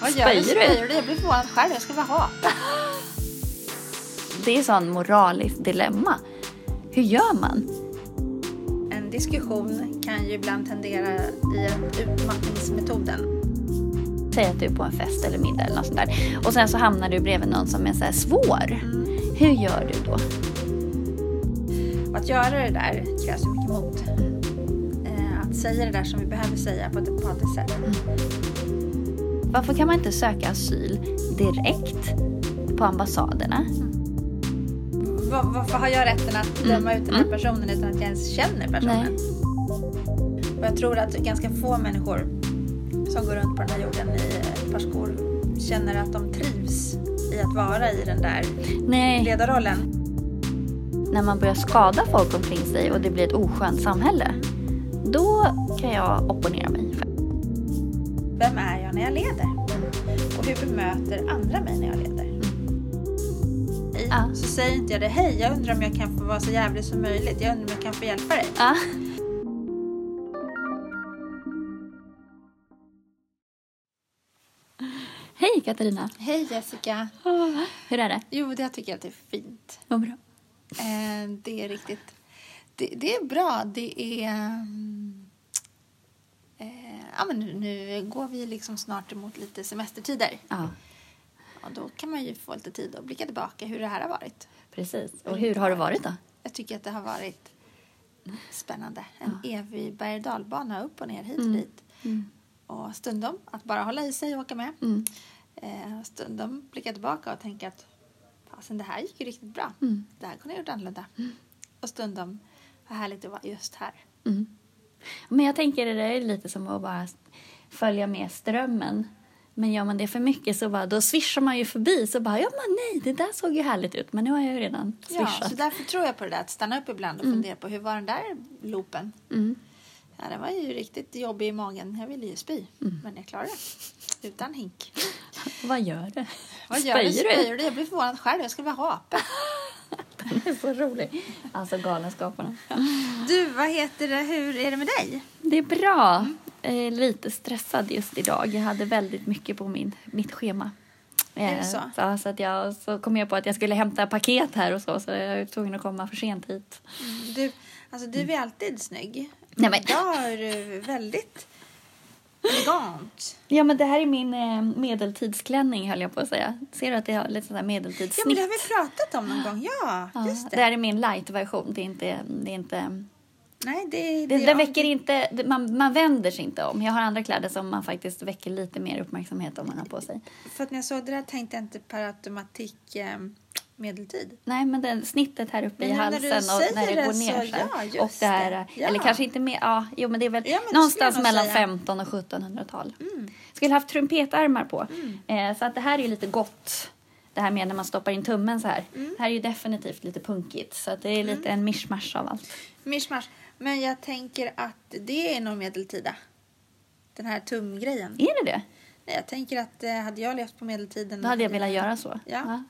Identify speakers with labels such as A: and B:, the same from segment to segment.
A: Vad gör du?
B: Spyr du?
A: Spyr du? Jag blir förvånad själv. Jag ska bara ha.
B: Det är sån moraliskt dilemma. Hur gör man?
A: En diskussion kan ju ibland tendera i en utmattningsmetoden.
B: Säg att du är på en fest eller middag eller något sånt där. Och sen så hamnar du bredvid någon som är så här svår. Hur gör du då?
A: Och att göra det där krävs ju mycket mod. Eh, Att säga det där som vi behöver säga på ett empatiskt sätt.
B: Varför kan man inte söka asyl direkt på ambassaderna?
A: Va- Varför har jag rätten att
B: Mm.
A: döma ut den här personen utan att jag ens känner personen? Och jag tror att ganska få människor som går runt på den här jorden i ett par skor känner att de trivs i att vara i den där
B: Nej,
A: ledarrollen.
B: när man börjar skada folk omkring sig och det blir ett oskönt samhälle. Då kan jag opponera mig.
A: Vem är jag när jag leder? Och hur bemöter andra mig när jag leder? I-
B: Ja.
A: Så säger inte jag det, hej jag undrar om jag kan få vara så jävlig som möjligt, jag undrar om jag kan få hjälpa dig.
B: Ah. Hej Katarina!
A: Hej Jessica!
B: Hur är det?
A: Jo, det tycker jag att det är fint.
B: Vad bra.
A: Eh, det är riktigt. Det, det är bra. Det är... mm, Eh, ja, men nu, nu går vi liksom snart emot lite semestertider.
B: Ja,
A: Och då kan man ju få lite tid att blicka tillbaka hur det här har varit.
B: precis. Och hur har det varit då?
A: Jag tycker att det har varit spännande. En evig berg och dalbana, upp och ner, hit och
B: Mm.
A: dit. Och stundom att bara hålla i sig och åka med.
B: Mm.
A: Eh, och stundom blicka tillbaka och tänka att fasen, det här gick ju riktigt bra.
B: Mm.
A: Det här kunde jag gjort annorlunda. Och stundom, vad härligt det var just här.
B: Mm. Men jag tänker det där är lite som att bara följa med strömmen. Men gör man det för mycket så bara, då svischar man ju förbi. Så bara, ja men nej, det där såg ju härligt ut. Men nu har jag ju redan
A: Ja,
B: swishat. Mm.
A: så därför tror jag på det där att stanna upp ibland och fundera på hur var den där loopen? Ja, den var ju riktigt jobbig i magen. Jag ville ju spy,
B: Mm.
A: men jag klarade det. Utan hink.
B: Vad gör du?
A: Vad gör du?
B: Spyr
A: Spyr du? Jag blir förvånad själv. Jag skulle vara ape.
B: Det är så roligt. Alltså Galenskaparna.
A: Du, vad heter det? Hur är det med dig?
B: Det är bra. Eh, lite stressad just idag. Jag hade väldigt mycket på min, mitt schema. Eh,
A: Är det så?
B: Så, så, att jag, så kom jag på att jag skulle hämta paket här och så, så jag var tvungen att komma för sent hit.
A: Du, alltså, du är alltid snygg.
B: Nej, men-
A: Idag är du väldigt elegant.
B: Ja, men det här är min eh, medeltidsklänning höll jag på att säga. Ser du att det har lite sådär medeltidssnitt?
A: Ja, men det har vi pratat om någon gång. Ja,
B: Ja,
A: just det.
B: det här är min light-version. Det är inte... Det är inte
A: Nej, det,
B: det, det väcker inte, det- man, man vänder sig inte om. Jag har andra kläder som man faktiskt väcker lite mer uppmärksamhet om man har på sig.
A: För att när jag såg det där tänkte jag inte per automatik eh, medeltid.
B: Nej, men den snittet här uppe
A: Men
B: i
A: nu när
B: halsen
A: du
B: och när
A: säger
B: det
A: det
B: går ner
A: så-
B: så här.
A: ja, just
B: och det här,
A: det. Ja.
B: Eller kanske inte mer, ja, jo men det är väl
A: Ja, men det skulle jag
B: någonstans
A: nog
B: mellan
A: säga. Mm.
B: 15 och 1700-tal. Skulle haft trumpetarmar på. Eh, så att det här är ju lite gott. Det här med när man stoppar in tummen så här.
A: Mm.
B: Det här är ju definitivt lite punkigt. Så att det är lite en mischmasch av allt.
A: Mischmasch. Men jag tänker att det är nog medeltida. Den här tumgrejen.
B: Är det det?
A: Nej, jag tänker att eh, hade jag levt på medeltiden.
B: Då hade jag velat göra så.
A: Mm. Ja.
B: ja.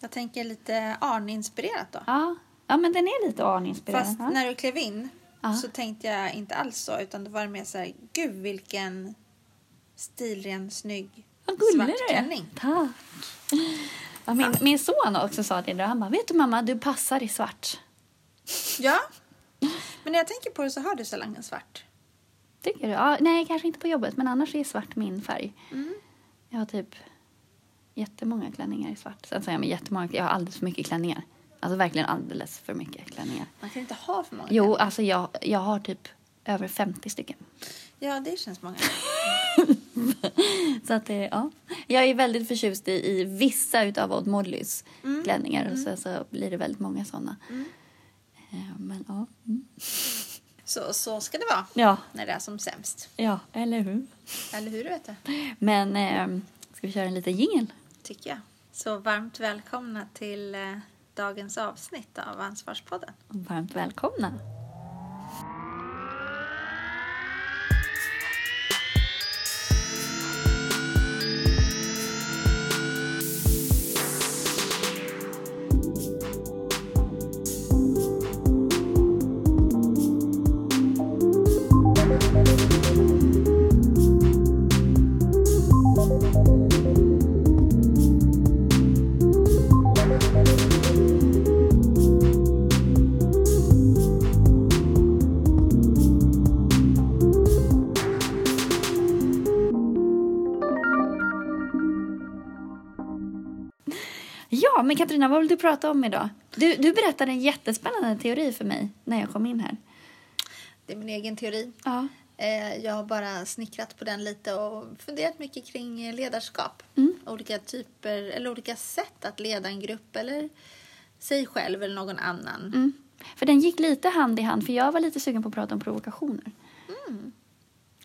A: Jag tänker lite Arne-inspirerat då.
B: Ja. Ja, men den är lite aninspirerad.
A: Fast
B: ja.
A: när du klev in
B: Ja.
A: så tänkte jag inte alls så. Utan då var det mer så här, gud vilken stilren, snygg,
B: Vad gullig
A: svart
B: du är.
A: klänning.
B: Tack. Ja, min, min son också sa det. då. Han bara, vet du mamma, du passar i svart.
A: Ja. Men när jag tänker på det så har du sällan en svart.
B: Tycker du? Ja, nej, kanske inte på jobbet, men annars är svart min färg. Jag har typ jättemånga klänningar i svart. Sen säger jag med jättemånga, jag har alldeles för mycket klänningar. Alltså verkligen alldeles för mycket klänningar.
A: Man kan inte ha för många.
B: Jo, alltså jag, jag har typ över 50 stycken.
A: Ja, det känns många.
B: Så att det, ja. Jag är väldigt förtjust i, i vissa utav Odd Mollys klänningar och sen så blir det väldigt många sådana. Eh, Men ja. Mm.
A: Så, så ska det vara
B: ja,
A: när det är som sämst.
B: ja, eller hur?
A: Eller hur vet du?
B: Men ehm, ska vi köra en liten jingel?
A: Tycker jag. Så varmt välkomna till eh, dagens avsnitt av Ansvarspodden.
B: Varmt välkomna. men Katarina, vad vill du prata om idag? Du, du berättade en jättespännande teori för mig när jag kom in här.
A: Det är min egen teori.
B: Ja.
A: Eh, Jag har bara snickrat på den lite och funderat mycket kring eh, ledarskap.
B: Mm.
A: Olika typer eller olika sätt att leda en grupp eller sig själv eller någon annan.
B: Mm. För den gick lite hand i hand, för jag var lite sugen på att prata om provokationer.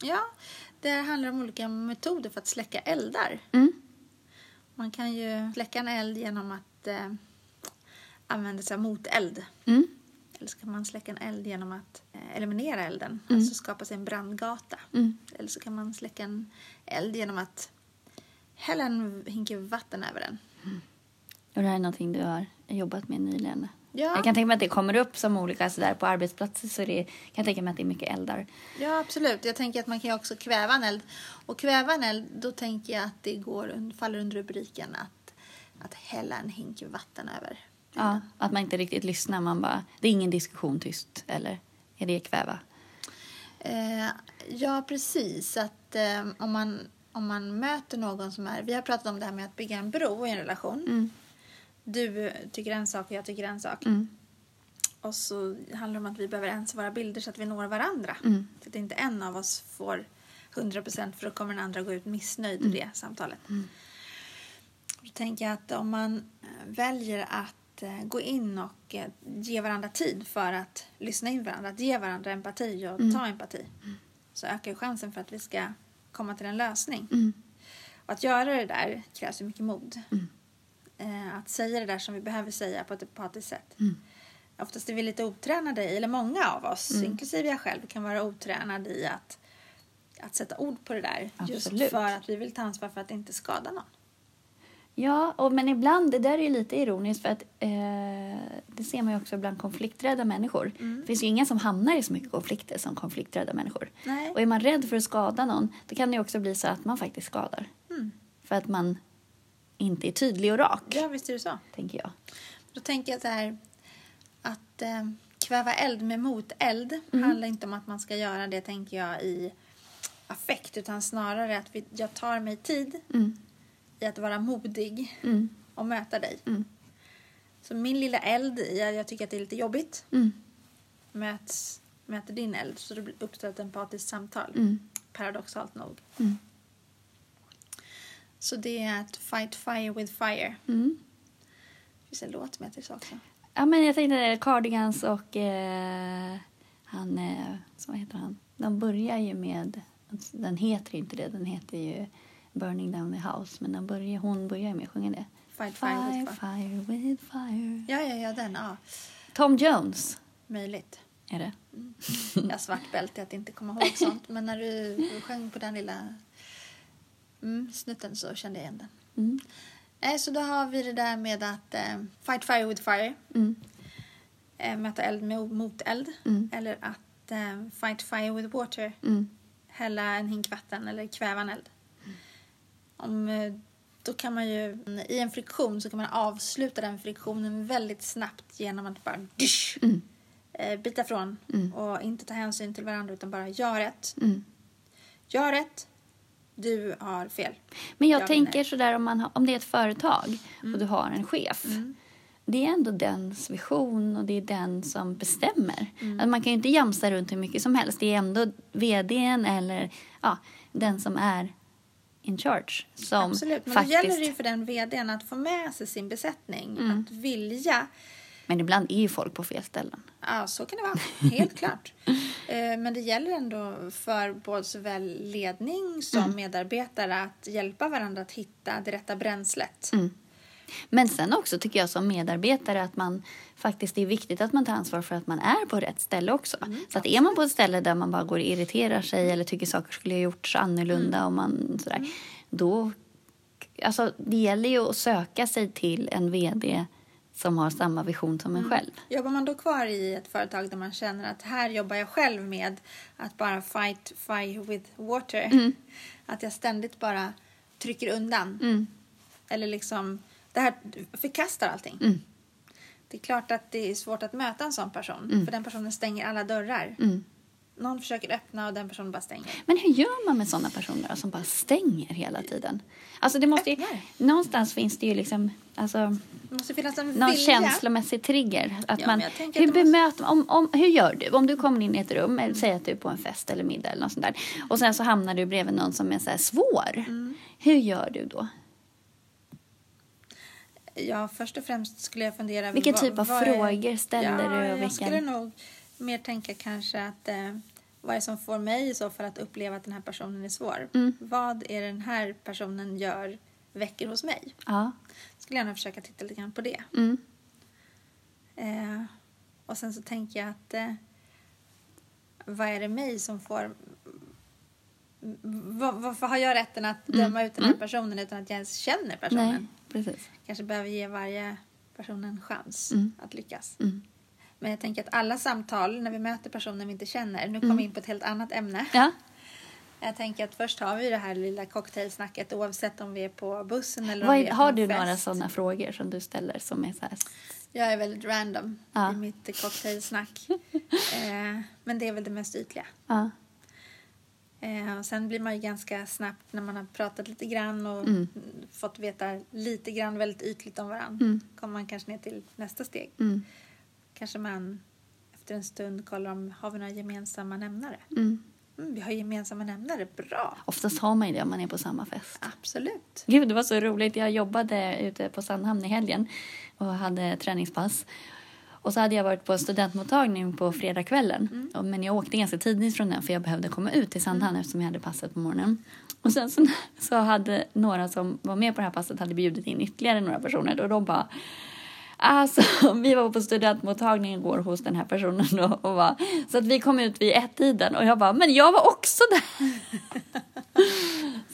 A: Ja, det handlar om olika metoder för att släcka eldar.
B: Mm.
A: Man kan ju släcka en eld genom att eh, använda sig av moteld.
B: Mm.
A: Eller så kan man släcka en eld genom att eh, eliminera elden, alltså skapa sig en brandgata.
B: Mm.
A: Eller så kan man släcka en eld genom att hälla en hink vatten över den.
B: Och det här är någonting du har jobbat med nyligen.
A: Ja.
B: Jag kan tänka mig att det kommer upp som olika sådär på arbetsplatser så det kan jag tänka mig att det är mycket eldar.
A: Ja, absolut. Jag tänker att man kan ju också kväva en eld. Och kväva en eld, då tänker jag att det går, un- faller under rubriken att, att hälla en hink vatten över.
B: Ja, att man inte riktigt lyssnar, man bara, det är ingen diskussion tyst eller är det kväva?
A: Eh, ja, precis. Att, eh, om, man, om man möter någon som är... Vi har pratat om det här med att bygga en bro i en relation. Du tycker en sak och jag tycker en sak. Och så handlar det om att vi behöver ens våra bilder så att vi når varandra. Så att inte en av oss får 100 procent för då kommer den andra gå ut missnöjd ur det samtalet. Då tänker jag att om man eh, väljer att eh, gå in och eh, ge varandra tid för att lyssna in varandra, att ge varandra empati och ta empati så ökar ju chansen för att vi ska komma till en lösning. Och att göra det där krävs ju mycket mod. Eh, Att säga det där som vi behöver säga på ett empatiskt sätt. Oftast är vi lite otränade i, eller många av oss, inklusive jag själv, kan vara otränade i att, att sätta ord på det där.
B: Absolut.
A: Just för att vi vill ta ansvar för att inte skada någon.
B: Ja, och, men ibland, det där är ju lite ironiskt för att eh, det ser man ju också bland konflikträdda människor. Det finns ju ingen som hamnar i så mycket konflikter som konflikträdda människor.
A: Nej.
B: Och är man rädd för att skada någon, då kan det ju också bli så att man faktiskt skadar. För att man inte är tydlig och rak,
A: Ja, visst är det så.
B: tänker jag.
A: Då tänker jag så här att eh, kväva eld med moteld handlar inte om att man ska göra det tänker jag i affekt utan snarare att vi, jag tar mig tid
B: Mm,
A: i att vara modig och möta dig. Så min lilla eld, jag, jag tycker att det är lite jobbigt,
B: mm,
A: möts, möter din eld så det blir- uppstår ett empatiskt samtal.
B: Mm.
A: Paradoxalt nog. Så det är att fight fire with fire.
B: mm.
A: Det finns en låt som heter så också.
B: Ja, men jag tänkte eh, Cardigans och eh, han, eh, så vad heter han? De börjar ju med, den heter ju inte det, den heter ju Burning down the house, men de börjar, hon börjar ju med att sjunga det.
A: Fight fire, with
B: Fire,
A: fire.
B: fire with fire.
A: Ja, ja, ja, den. Ja.
B: Tom Jones
A: Möjligt.
B: är det.
A: Jag har svart bälte att inte komma ihåg sånt. Men när du sjöng på den lilla mm, snutten så kände jag igen den.
B: Mm.
A: Eh, så då har vi det där med att eh, fight fire with fire.
B: Mm.
A: Eh, möta eld med o- moteld.
B: Mm.
A: Eller att eh, fight fire with water.
B: Mm.
A: Hälla en hink vatten eller kväva en eld. Om, eh, då kan man ju, I en friktion så kan man avsluta den friktionen väldigt snabbt genom att bara dysch, eh, bita från och inte ta hänsyn till varandra utan bara gör rätt.
B: Mm.
A: Gör rätt, du har fel.
B: Men jag,
A: Jag
B: tänker
A: vinner.
B: sådär om, man har, om det är ett företag
A: Mm.
B: och du har en chef. Det är ändå dens vision och det är den som bestämmer.
A: Mm.
B: Alltså man kan ju inte jamsa runt hur mycket som helst. Det är ändå vdn eller ja, den som är in charge som
A: Absolut, men
B: faktiskt...
A: då gäller det ju för den vdn att få med sig sin besättning, att vilja
B: Men ibland är ju folk på fel ställen.
A: Ja, så kan det vara. Helt klart. Eh, Men det gäller ändå för både såväl ledning som medarbetare att hjälpa varandra att hitta det rätta bränslet.
B: Men sen också tycker jag som medarbetare att man faktiskt det är viktigt att man tar ansvar för att man är på rätt ställe också. så att är man på ett ställe där man bara går och irriterar sig eller tycker saker skulle ha gjorts annorlunda och man sådär. Då, alltså det gäller ju att söka sig till en vd som har samma vision som en själv.
A: Jobbar man då kvar i ett företag där man känner att här jobbar jag själv med att bara fight fire with water.
B: Mm.
A: Att jag ständigt bara trycker undan.
B: Mm.
A: Eller liksom det här förkastar allting.
B: Mm.
A: Det är klart att det är svårt att möta en sån person.
B: Mm.
A: För den personen stänger alla dörrar. Någon försöker öppna och den personen bara stänger.
B: Men hur gör man med sådana personer då, som bara stänger hela tiden? Alltså det måste ju,
A: Öppnar.
B: någonstans finns det ju liksom Alltså,
A: Det måste finnas en
B: någon
A: vilja.
B: känslomässig trigger. Att
A: Ja,
B: man,
A: men jag tänker
B: hur,
A: att Mm. det måste-
B: bemöter, man- om, om, hur gör du? Om du kommer in i ett rum, eller säg att du är på en fest eller middag eller något sånt där. Och sen så hamnar du bredvid någon som är så här svår.
A: Mm.
B: Hur gör du då?
A: Ja, först och främst skulle jag fundera...
B: Vilken
A: vad-
B: typ av
A: vad är-
B: frågor ställer
A: ja,
B: du? Och
A: Jag skulle
B: vilken...
A: nog mer tänka kanske att eh, vad är det som får mig i så för att uppleva att den här personen är svår?
B: Mm.
A: Vad är det den här personen gör väcker hos mig?
B: Ja.
A: Skulle gärna försöka titta lite grann på det.
B: Mm.
A: Eh, och sen så tänker jag att eh, vad är det mig som får... m- va- Varför har jag rätten att
B: Mm.
A: döma ut den här
B: Mm.
A: personen utan att jag ens känner personen?
B: Nej, precis.
A: Kanske behöver ge varje person en chans
B: Mm.
A: att lyckas.
B: Mm.
A: Men jag tänker att alla samtal när vi möter personer vi inte känner, nu
B: Mm.
A: kommer vi in på ett helt annat ämne.
B: Ja.
A: Jag tänker att först har vi det här lilla cocktailsnacket oavsett om vi är på bussen eller om
B: Vad
A: vi
B: är,
A: är på
B: har
A: en
B: du
A: fest.
B: några sådana frågor som du ställer som är så här...
A: Jag är väldigt random
B: Ja.
A: i mitt cocktailsnack. eh, men det är väl det mest ytliga.
B: Ja.
A: Eh, och sen blir man ju ganska snabbt när man har pratat lite grann och
B: Mm.
A: fått veta lite grann väldigt ytligt om varandra.
B: Mm.
A: kommer man kanske ner till nästa steg.
B: Mm.
A: Kanske man efter en stund kollar om har vi några gemensamma nämnare.
B: Mm.
A: Mm, vi har gemensamma nämnare, bra!
B: Oftast har man ju det om man är på samma fest.
A: Absolut.
B: Gud, det var så roligt. Jag jobbade ute på Sandhamn i helgen och hade träningspass. Och så hade jag varit på studentmottagning på fredagskvällen. Och- Men jag åkte ganska tidigt från den för jag behövde komma ut till Sandhamn eftersom jag hade passet på morgonen. Och sen så, så hade några som var med på det här passet hade bjudit in ytterligare några personer och de bara Alltså, vi var på studentmottagning igår hos den här personen då, och bara, så att vi kom ut vid ett-tiden och jag bara, men jag var också där.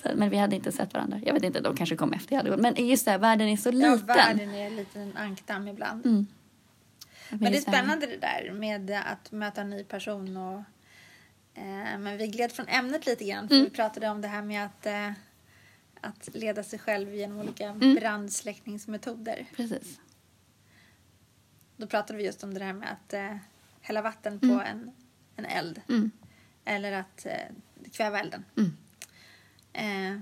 B: Så, men vi hade inte sett varandra. Jag vet inte, de kanske kom efter jag hade gått. Men just det här, världen är så
A: Ja,
B: liten.
A: världen är en liten ankdamm ibland.
B: Mm.
A: Men det är
B: just här-
A: spännande det där med att möta en ny person. Och, eh, men vi gled från ämnet lite grann.
B: Mm.
A: För Vi pratade om det här med att, eh, att leda sig själv genom olika
B: Mm.
A: brandsläckningsmetoder.
B: Precis.
A: Då pratade vi just om det där med att eh, hälla vatten på en, en eld.
B: Mm.
A: Eller att eh, kväva elden.
B: Mm.
A: Eh,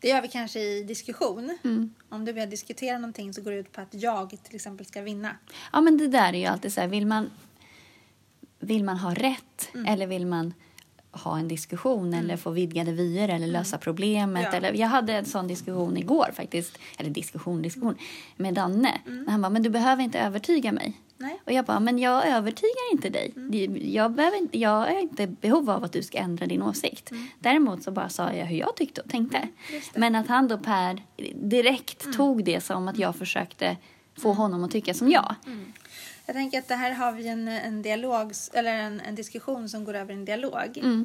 A: det gör vi kanske i diskussion.
B: Mm.
A: Om du vill diskutera någonting så går det ut på att jag till exempel ska vinna.
B: Ja, men det där är ju alltid så här, vill man, vill man ha rätt eller vill man ha en diskussion eller få vidgade vyer eller lösa problemet.
A: Ja.
B: Eller, jag hade en sån diskussion igår faktiskt, eller diskussion, diskussion, med Danne. När han bara, men du behöver inte övertyga mig.
A: Nej?
B: Och jag bara, men jag övertygar inte dig. Det- Jag, behöver inte, jag är inte i behov av att du ska ändra din åsikt. Däremot så bara sa jag hur jag tyckte och tänkte.
A: just det.
B: men att han då Per direkt tog det som att jag försökte få honom att tycka som jag.
A: Jag tänker att det här har vi en, en dialog, eller en, en diskussion som går över i en dialog.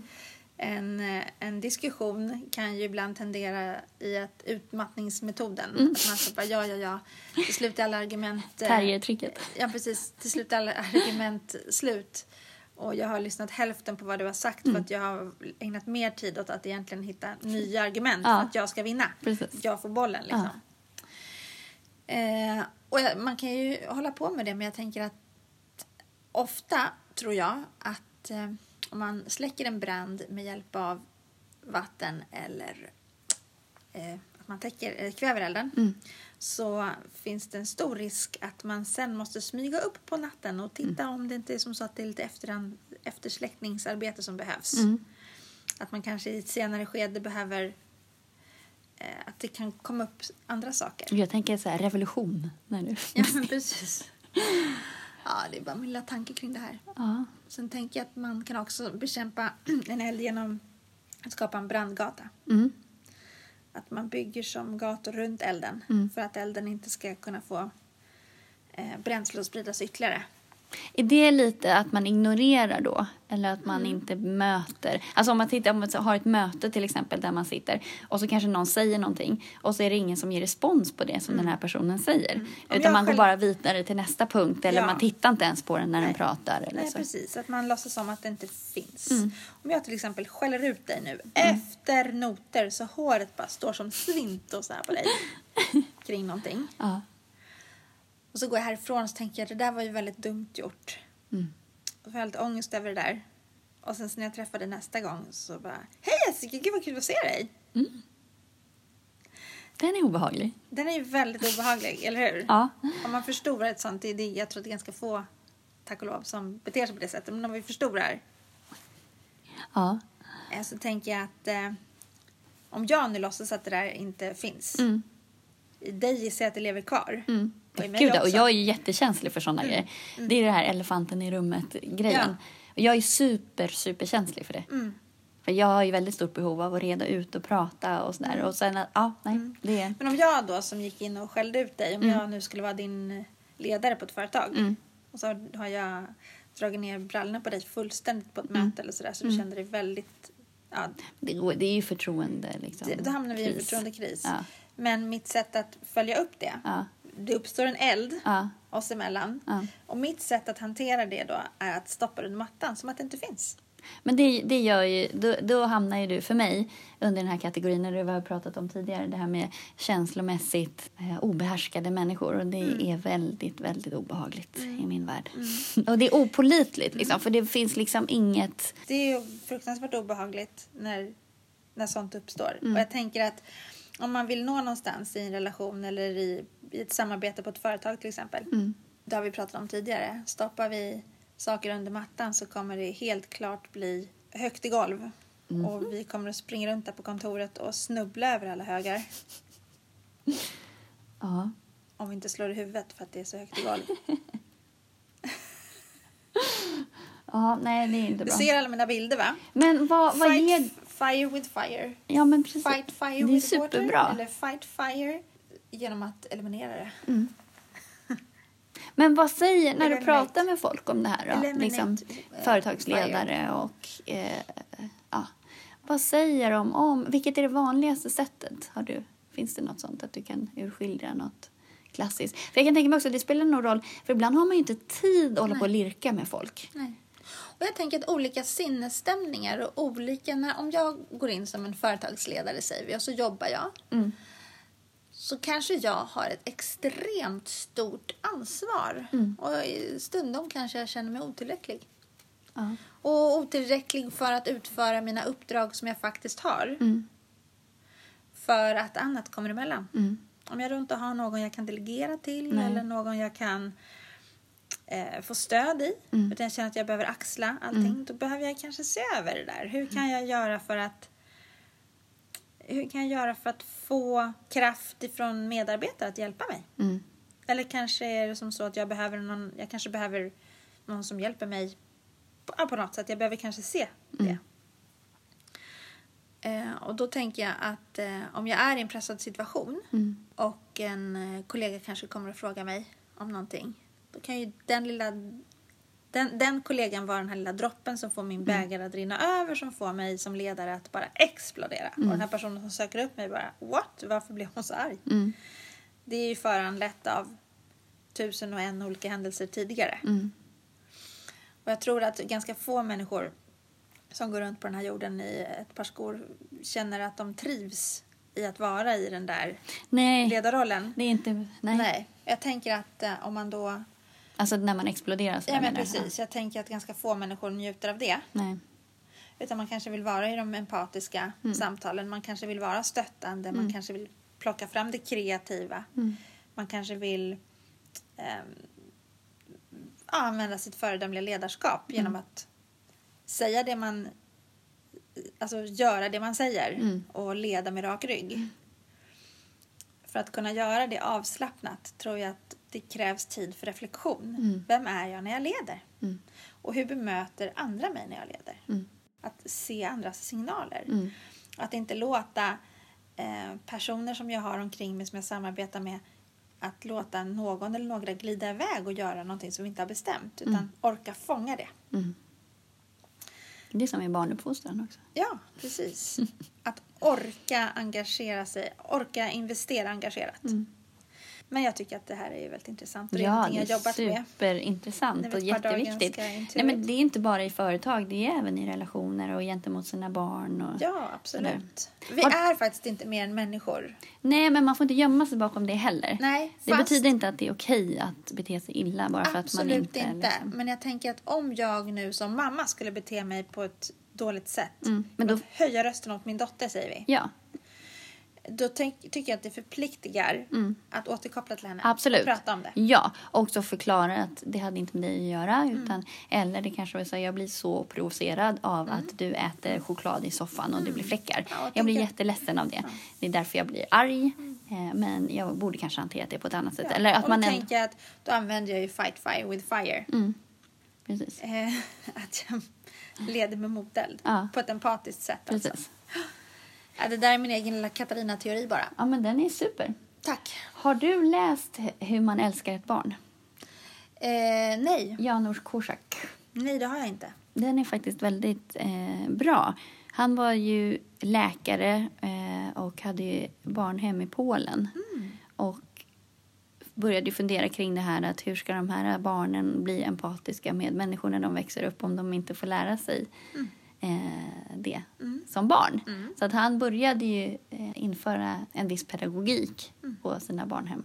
A: En, eh, en diskussion kan ju ibland tendera i att utmattningsmetoden. Att man så bara ja, ja, ja. Till slut är alla argument... eh,
B: Terriertricket.
A: Ja, precis. Till slut är alla argument slut. Och jag har lyssnat hälften på vad du har sagt för att jag har ägnat mer tid åt att egentligen hitta nya argument
B: Ja.
A: för att jag ska vinna.
B: Precis.
A: Jag får bollen liksom. Eh, och jag, man kan ju hålla på med det men jag tänker att ofta tror jag att eh, om man släcker en brand med hjälp av vatten eller eh, att man täcker, eh, kväver elden så finns det en stor risk att man sen måste smyga upp på natten och titta om det inte är som så att det är lite efterhand, eftersläckningsarbete som behövs. Att man kanske i ett senare skede behöver eh, att det kan komma upp andra saker.
B: Jag tänker så här, revolution. När du...
A: Ja, men precis. Ja, det är bara min lilla tanke kring det här.
B: ja.
A: Sen tänker jag att man kan också bekämpa en eld genom att skapa en brandgata.
B: Mm.
A: Att man bygger som gator runt elden
B: Mm.
A: för att elden inte ska kunna få eh, bränsle och spridas ytterligare.
B: Är det lite att man ignorerar då? Eller att man
A: Mm.
B: inte möter? Alltså om man, tittar, om man så har ett möte till exempel där man sitter och så kanske någon säger någonting och så är det ingen som ger respons på det som den här personen säger.
A: Mm. jag
B: Utan man går
A: själv-
B: bara vidare till nästa punkt eller
A: Ja.
B: man tittar inte ens på den när den
A: Nej.
B: pratar. Eller
A: Nej,
B: så. Mm.
A: precis. Att man låtsas som att det inte finns. Om jag till exempel skäller ut dig nu efter noter så håret bara står som svint och så här på dig kring någonting.
B: Ja.
A: Och så går jag härifrån och så tänker jag det där var ju väldigt dumt gjort.
B: Mm.
A: Och får jag lite ångest över det där. Och sen så när jag träffar dig nästa gång så bara Hej Jessica, gud vad kul att se dig!
B: Den är obehaglig.
A: Den är ju väldigt obehaglig, eller hur?
B: Ja.
A: Om man förstorar ett sånt, det, det, jag tror att det är ganska få, tack och lov, som beter sig på det sättet. Men om vi förstorar
B: Ja.
A: eh, så tänker jag att eh, om jag nu låtsas att det där inte finns,
B: Mm.
A: i dig gissar jag att det lever kvar.
B: Mm.
A: Och i mig
B: Gud, ja, och
A: också. Mm.
B: jag är ju jättekänslig för sådana grejer. Det är det här elefanten i rummet-grejen. Jag är super, superkänslig för det.
A: Mm.
B: För jag har ju väldigt stort behov av att reda ut och prata och sådär.
A: Mm.
B: Och sen, att- ja, nej, det är...
A: Men om jag då som gick in och skällde ut dig, om jag nu skulle vara din eh, ledare på ett företag
B: Mm.
A: och så har jag dragit ner brallorna på dig fullständigt på ett
B: Mm.
A: möte eller sådär så du kände dig väldigt, ja,
B: Det, går- det är ju förtroende liksom.
A: det- då hamnar vi i en
B: kris.
A: förtroendekris.
B: Ja.
A: Men mitt sätt att följa upp det,
B: Ja,
A: det uppstår en eld
B: ja,
A: oss emellan
B: ja.
A: och mitt sätt att hantera det då är att stoppa det under mattan som att det inte finns.
B: Men det, det gör ju, då, då hamnar ju du för mig under den här kategorin när du har pratat om tidigare, det här med känslomässigt eh, obehärskade människor och det
A: Mm.
B: är väldigt, väldigt obehagligt i min värld. och det är opolitligt liksom, för det finns liksom inget,
A: Det är ju fruktansvärt obehagligt när, när sånt uppstår.
B: Mm.
A: Och jag tänker att om man vill nå någonstans i en relation eller i, i ett samarbete på ett företag till exempel.
B: Mm.
A: Det har vi pratat om tidigare. Stoppar vi saker under mattan så kommer det helt klart bli högt i golv.
B: Mm.
A: Och vi kommer att springa runt där på kontoret och snubbla över alla högar.
B: ja.
A: Om vi inte slår i huvudet för att det är så högt i golv.
B: Ja, nej det är inte
A: Du
B: bra.
A: ser alla mina bilder va?
B: Men vad, vad
A: fight
B: ger...
A: fire with fire.
B: Ja men precis.
A: Fight fire
B: det är
A: with
B: superbra.
A: water. Eller fight fire genom att eliminera det.
B: Men vad säger, när du
A: Eliminate.
B: pratar med folk om det här då?
A: Eliminate,
B: Liksom,
A: eh,
B: företagsledare och... Eh, ja. Vad säger de om... Vilket är det vanligaste sättet? Har du, finns det något sånt att du kan urskilja något klassiskt? För jag kan tänka mig också att det spelar någon roll, för ibland har man ju inte tid att hålla på och lirka med folk.
A: Nej. Och jag tänker att olika sinnesstämningar och olika... När, om jag går in som en företagsledare säger vi och så jobbar jag.
B: Mm.
A: Så kanske jag har ett extremt stort ansvar.
B: Mm.
A: Och i stundom kanske jag känner mig otillräcklig.
B: Ja.
A: Och otillräcklig för att utföra mina uppdrag som jag faktiskt har.
B: Mm.
A: För att annat kommer emellan.
B: Mm.
A: Om jag då inte har någon jag kan delegera till
B: Nej.
A: eller någon jag kan eh, få stöd i.
B: Mm.
A: Utan jag känner att jag behöver axla allting. Då behöver jag kanske se över det där. Hur
B: Mm.
A: kan jag göra för att hur kan jag göra för att få kraft ifrån medarbetare att hjälpa mig?
B: Mm.
A: Eller kanske är det som så att jag behöver någon, jag kanske behöver någon som hjälper mig på, ja, på något sätt. Jag behöver kanske se
B: Mm.
A: det. Eh, och då tänker jag att eh, om jag är i en pressad situation
B: Mm.
A: och en eh, kollega kanske kommer att fråga mig om någonting. Då kan ju den lilla den, den kollegan vara den här lilla droppen som får min
B: Mm.
A: bägare att rinna över som får mig som ledare att bara explodera. Och den här personen som söker upp mig bara what? Varför blev hon så arg?
B: Mm.
A: Det är ju föranlett av tusen och en olika händelser tidigare.
B: Mm.
A: Och jag tror att ganska få människor som går runt på den här jorden i ett par skor känner att de trivs i att vara i den där
B: Nej,
A: ledarrollen.
B: det är inte... Nej.
A: Jag tänker att eh, om man då...
B: Alltså när man exploderar så
A: Ja, men
B: menar jag.
A: precis. Jag tänker att ganska få människor njuter av det.
B: Nej.
A: Utan man kanske vill vara i de empatiska samtalen. Man kanske vill vara stöttande. Man kanske vill plocka fram det kreativa.
B: Mm,
A: Man kanske vill ehm, ja, använda sitt föredömliga ledarskap
B: Mm.
A: genom att säga det man... Alltså göra det man säger
B: Mm.
A: och leda med rak rygg. För att kunna göra det avslappnat tror jag att det krävs tid för reflektion.
B: Mm.
A: Vem är jag när jag leder?
B: Mm.
A: Och hur bemöter andra mig när jag leder?
B: Mm.
A: Att se andras signaler.
B: Mm.
A: Att inte låta eh, personer som jag har omkring mig, som jag samarbetar med, att låta någon eller några glida iväg och göra någonting som vi inte har bestämt. Utan orka fånga det.
B: Mm. Det är som i barnuppfostran också.
A: Ja, precis. Att orka engagera sig, orka investera engagerat. Men jag tycker att det här är ju väldigt intressant och det är
B: Mm. Ja,
A: någonting
B: det
A: jag
B: är
A: jobbat med.
B: superintressant
A: Det är
B: och
A: väl ett par dagar
B: jätteviktigt.
A: ganska intuitivt.
B: Nej, men det är inte bara i företag, det är även i relationer och gentemot sina barn. Och...
A: Ja, absolut. Vi
B: Har-
A: är faktiskt inte mer än människor.
B: Nej, men man får inte gömma sig bakom det heller.
A: Nej,
B: det
A: fast-
B: betyder inte att det är okej att bete sig illa bara för att man
A: Absolut
B: inte...
A: inte.
B: liksom-
A: Men jag tänker att om jag nu som mamma skulle bete mig på ett dåligt sätt.
B: Mm, men då-
A: Höja rösten åt min dotter säger vi.
B: Ja,
A: då tänk, tycker jag att det förpliktigar
B: Mm.
A: att återkoppla till henne.
B: Absolut.
A: Prata om det.
B: Ja, och så förklara att det hade inte med dig att göra.
A: Mm.
B: Utan, Eller det kanske var så här, jag blir så provocerad av att du äter choklad i soffan och det blir fläckar.
A: Mm. Ja, och
B: jag blir
A: tänker-
B: jätteledsen av det. Det är därför jag blir arg. Eh, Men jag borde kanske hantera det på ett annat sätt. Eller att
A: Mm. och då
B: man ändå...
A: tänker jag att då använder jag ju fight fire with fire.
B: Mm. Precis.
A: Eh, att jag leder med moteld.
B: Ja.
A: På ett empatiskt sätt alltså.
B: Precis.
A: Ja, det där är min egen lilla Katarina-teori bara.
B: Ja, men den är super.
A: Tack.
B: Har du läst Hur man älskar ett barn?
A: Eh, nej.
B: Janusz Korsak.
A: Nej, det har jag inte.
B: Den är faktiskt väldigt eh, bra. Han var ju läkare eh, och hade ju barnhem i Polen.
A: Mm.
B: Och började ju fundera kring det här att hur ska de här barnen bli empatiska med människor när de växer upp om de inte får lära sig
A: Mm.
B: eh, det som barn. Så att han började ju eh, införa en viss pedagogik på sina barnhem.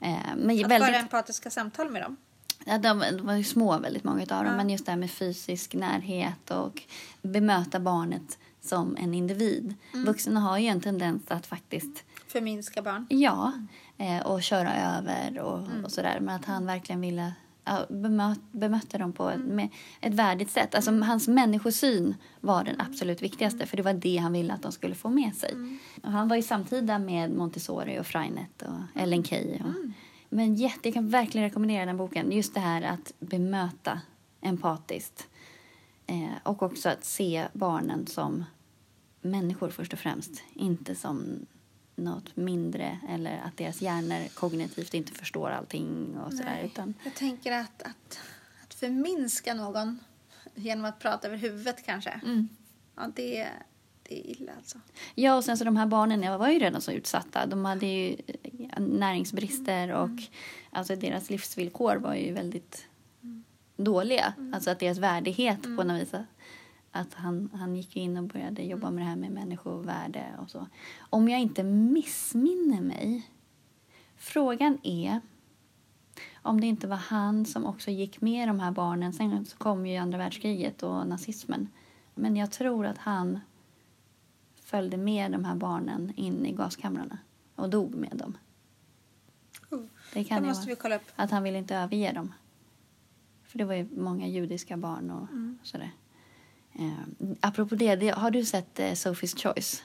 B: Eh, men
A: Mm. Att
B: väldigt...
A: föra empatiska samtal med dem.
B: Ja, de, de var ju små väldigt många av dem,
A: Ja.
B: men just det här med fysisk närhet och bemöta barnet som en individ. Vuxna har ju en tendens att faktiskt,
A: Förminska barn.
B: ja, eh, och köra över och, och sådär. Men att han verkligen ville ja, bemöt, bemöta dem på ett, med ett värdigt sätt. Alltså hans människosyn var den absolut viktigaste, för det var det han ville att de skulle få med sig. Och han var ju samtida med Montessori och Freinet och Ellen Key. Och, Men jätte, jag kan verkligen rekommendera den boken. Just det här att bemöta empatiskt. Eh, och också att se barnen som människor först och främst. Inte som något mindre eller att deras hjärnor kognitivt inte förstår allting och sådär.
A: Nej.
B: Utan,
A: Jag tänker att, att, att förminska någon genom att prata över huvudet kanske.
B: Mm.
A: Ja, det, det är illa alltså.
B: Ja, och sen så de här barnen jag var ju redan så utsatta. De hade ju eh, näringsbrister och alltså deras livsvillkor var ju väldigt dåliga. Alltså att deras värdighet på något vis. Att han, han gick ju in och började jobba med det här med människovärde och så. Om jag inte missminner mig. Frågan är om det inte var han som också gick med de här barnen. Sen så kom ju andra världskriget och nazismen. Men jag tror att han följde med de här barnen in i gaskamrarna och dog med dem.
A: Oh.
B: Det
A: Det
B: kan ju vara.
A: måste vi kolla upp.
B: Att han ville inte överge dem. För det var ju många judiska barn och
A: Mm.
B: sådär. Eh, apropå det, det, har du sett eh, Sophie's Choice?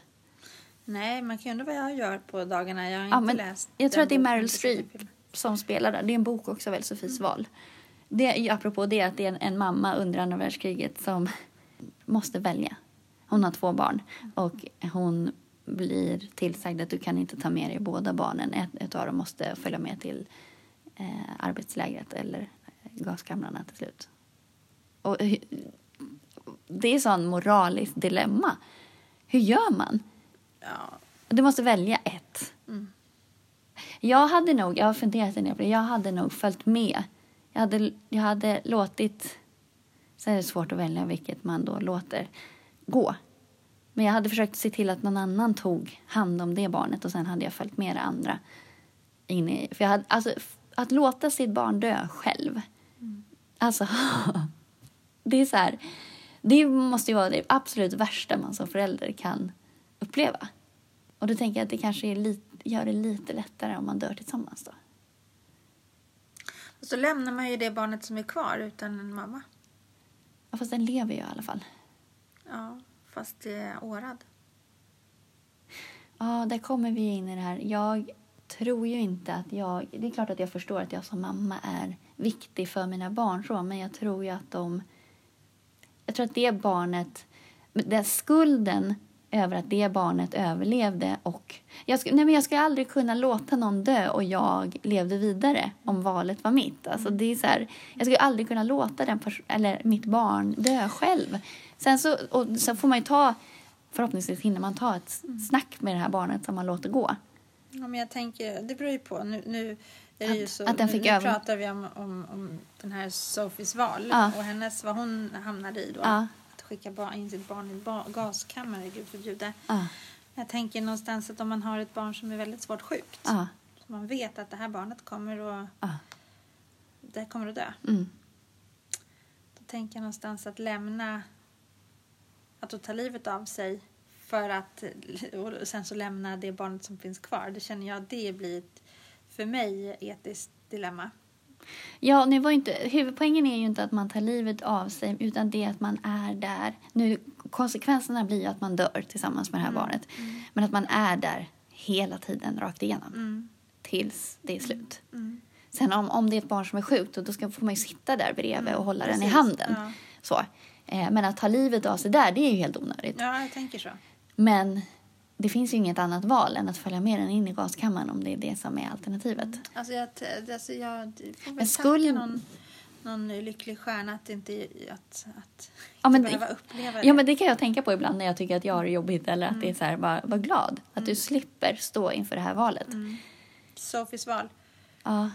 A: Nej, man kan ju undra vad jag gör på dagarna. Jag har
B: Ja,
A: inte
B: men
A: läst.
B: jag tror
A: den
B: att det är
A: boken,
B: Meryl
A: inte Mm. sett den
B: Streep.
A: filmen.
B: som spelar där. Det är en bok också väl, Sofies val. Det, är ju apropå det att det är en, en mamma under andra världskriget som måste välja. Hon har två barn och hon blir tillsagd att du kan inte ta med dig båda barnen. Ett, ett av dem måste följa med till eh, arbetslägret eller eh, gaskamrarna till slut. Och, hu- det är sån moraliskt dilemma. Hur gör man?
A: Ja,
B: Du måste välja ett. Jag hade nog, jag har funderat en del på det, jag hade nog följt med. Jag hade, jag hade låtit, sen är det svårt att välja vilket man då låter gå. Men jag hade försökt se till att någon annan tog hand om det barnet och sen hade jag följt med det andra. In i, för jag hade, alltså, f- att låta sitt barn dö själv, alltså det är så här, det måste ju vara det absolut värsta man som förälder kan uppleva. Och då tänker jag att det kanske är lite, gör det lite lättare om man dör tillsammans då.
A: och så lämnar man ju det barnet som är kvar utan en mamma.
B: Ja, Fast den lever ju i alla fall.
A: Ja, fast det är årad.
B: Ja, där kommer vi in i det här. Jag tror ju inte att jag... Det är klart att jag förstår att jag som mamma är viktig för mina barn, så, men jag tror ju att de... Jag tror att det barnet... men Den skulden över att det barnet överlevde och... Jag, sk- nej men jag skulle aldrig kunna låta någon dö och jag levde vidare om valet var mitt. Alltså det är så här, jag skulle aldrig kunna låta den pers- eller mitt barn dö själv. Sen så, och sen får man ju ta förhoppningsvis hinner man ta ett
A: Mm.
B: snack med det här barnet som man låter gå.
A: Ja, men jag tänker, det beror ju på. Nu, nu är det ju
B: Att-
A: så,
B: att den fick
A: nu
B: över-
A: pratar vi om, om, om den här Sophies val
B: Ja.
A: och hennes, vad hon hamnade i då.
B: Ja.
A: Att skicka barn, in sitt barn i en ba- gaskammare, gud förbjude.
B: Ja,
A: Jag tänker någonstans att om man har ett barn som är väldigt svårt sjukt,
B: ja,
A: så man vet att det här barnet kommer att,
B: ja.
A: det kommer att dö.
B: Mm.
A: Då tänker jag någonstans att lämna, att då ta livet av sig För att och sen så lämna det barnet som finns kvar. Det känner jag, det blir ett, för mig etiskt dilemma.
B: Ja, nu var ju inte, huvudpoängen är ju inte att man tar livet av sig utan det är att man är där. Nu, konsekvenserna blir ju att man dör tillsammans med det här
A: Mm,
B: barnet.
A: mm.
B: Men att man är där hela tiden, rakt igenom,
A: Mm,
B: tills det är slut.
A: mm.
B: Sen om, om det är ett barn som är sjukt, då ska, får man ju sitta där bredvid och hålla den i
A: Mm. Precis,
B: handen.
A: Ja.
B: Så. Eh, Men att ta livet av sig där, det är ju helt onödigt.
A: ja, jag tänker så.
B: Men det finns ju inget annat val än att följa med den in i gaskammaren om det är det som är alternativet.
A: Alltså jag, t- alltså jag det får väl
B: Men skulle-
A: tacka någon, någon lycklig stjärna att inte att, att
B: Ja, men
A: behöva
B: det-
A: uppleva det.
B: Ja, men det kan jag tänka på ibland när jag tycker att jag har det jobbigt eller att det är så här, bara, var glad att du slipper stå inför det här valet.
A: mm. Sofies val.
B: Ja,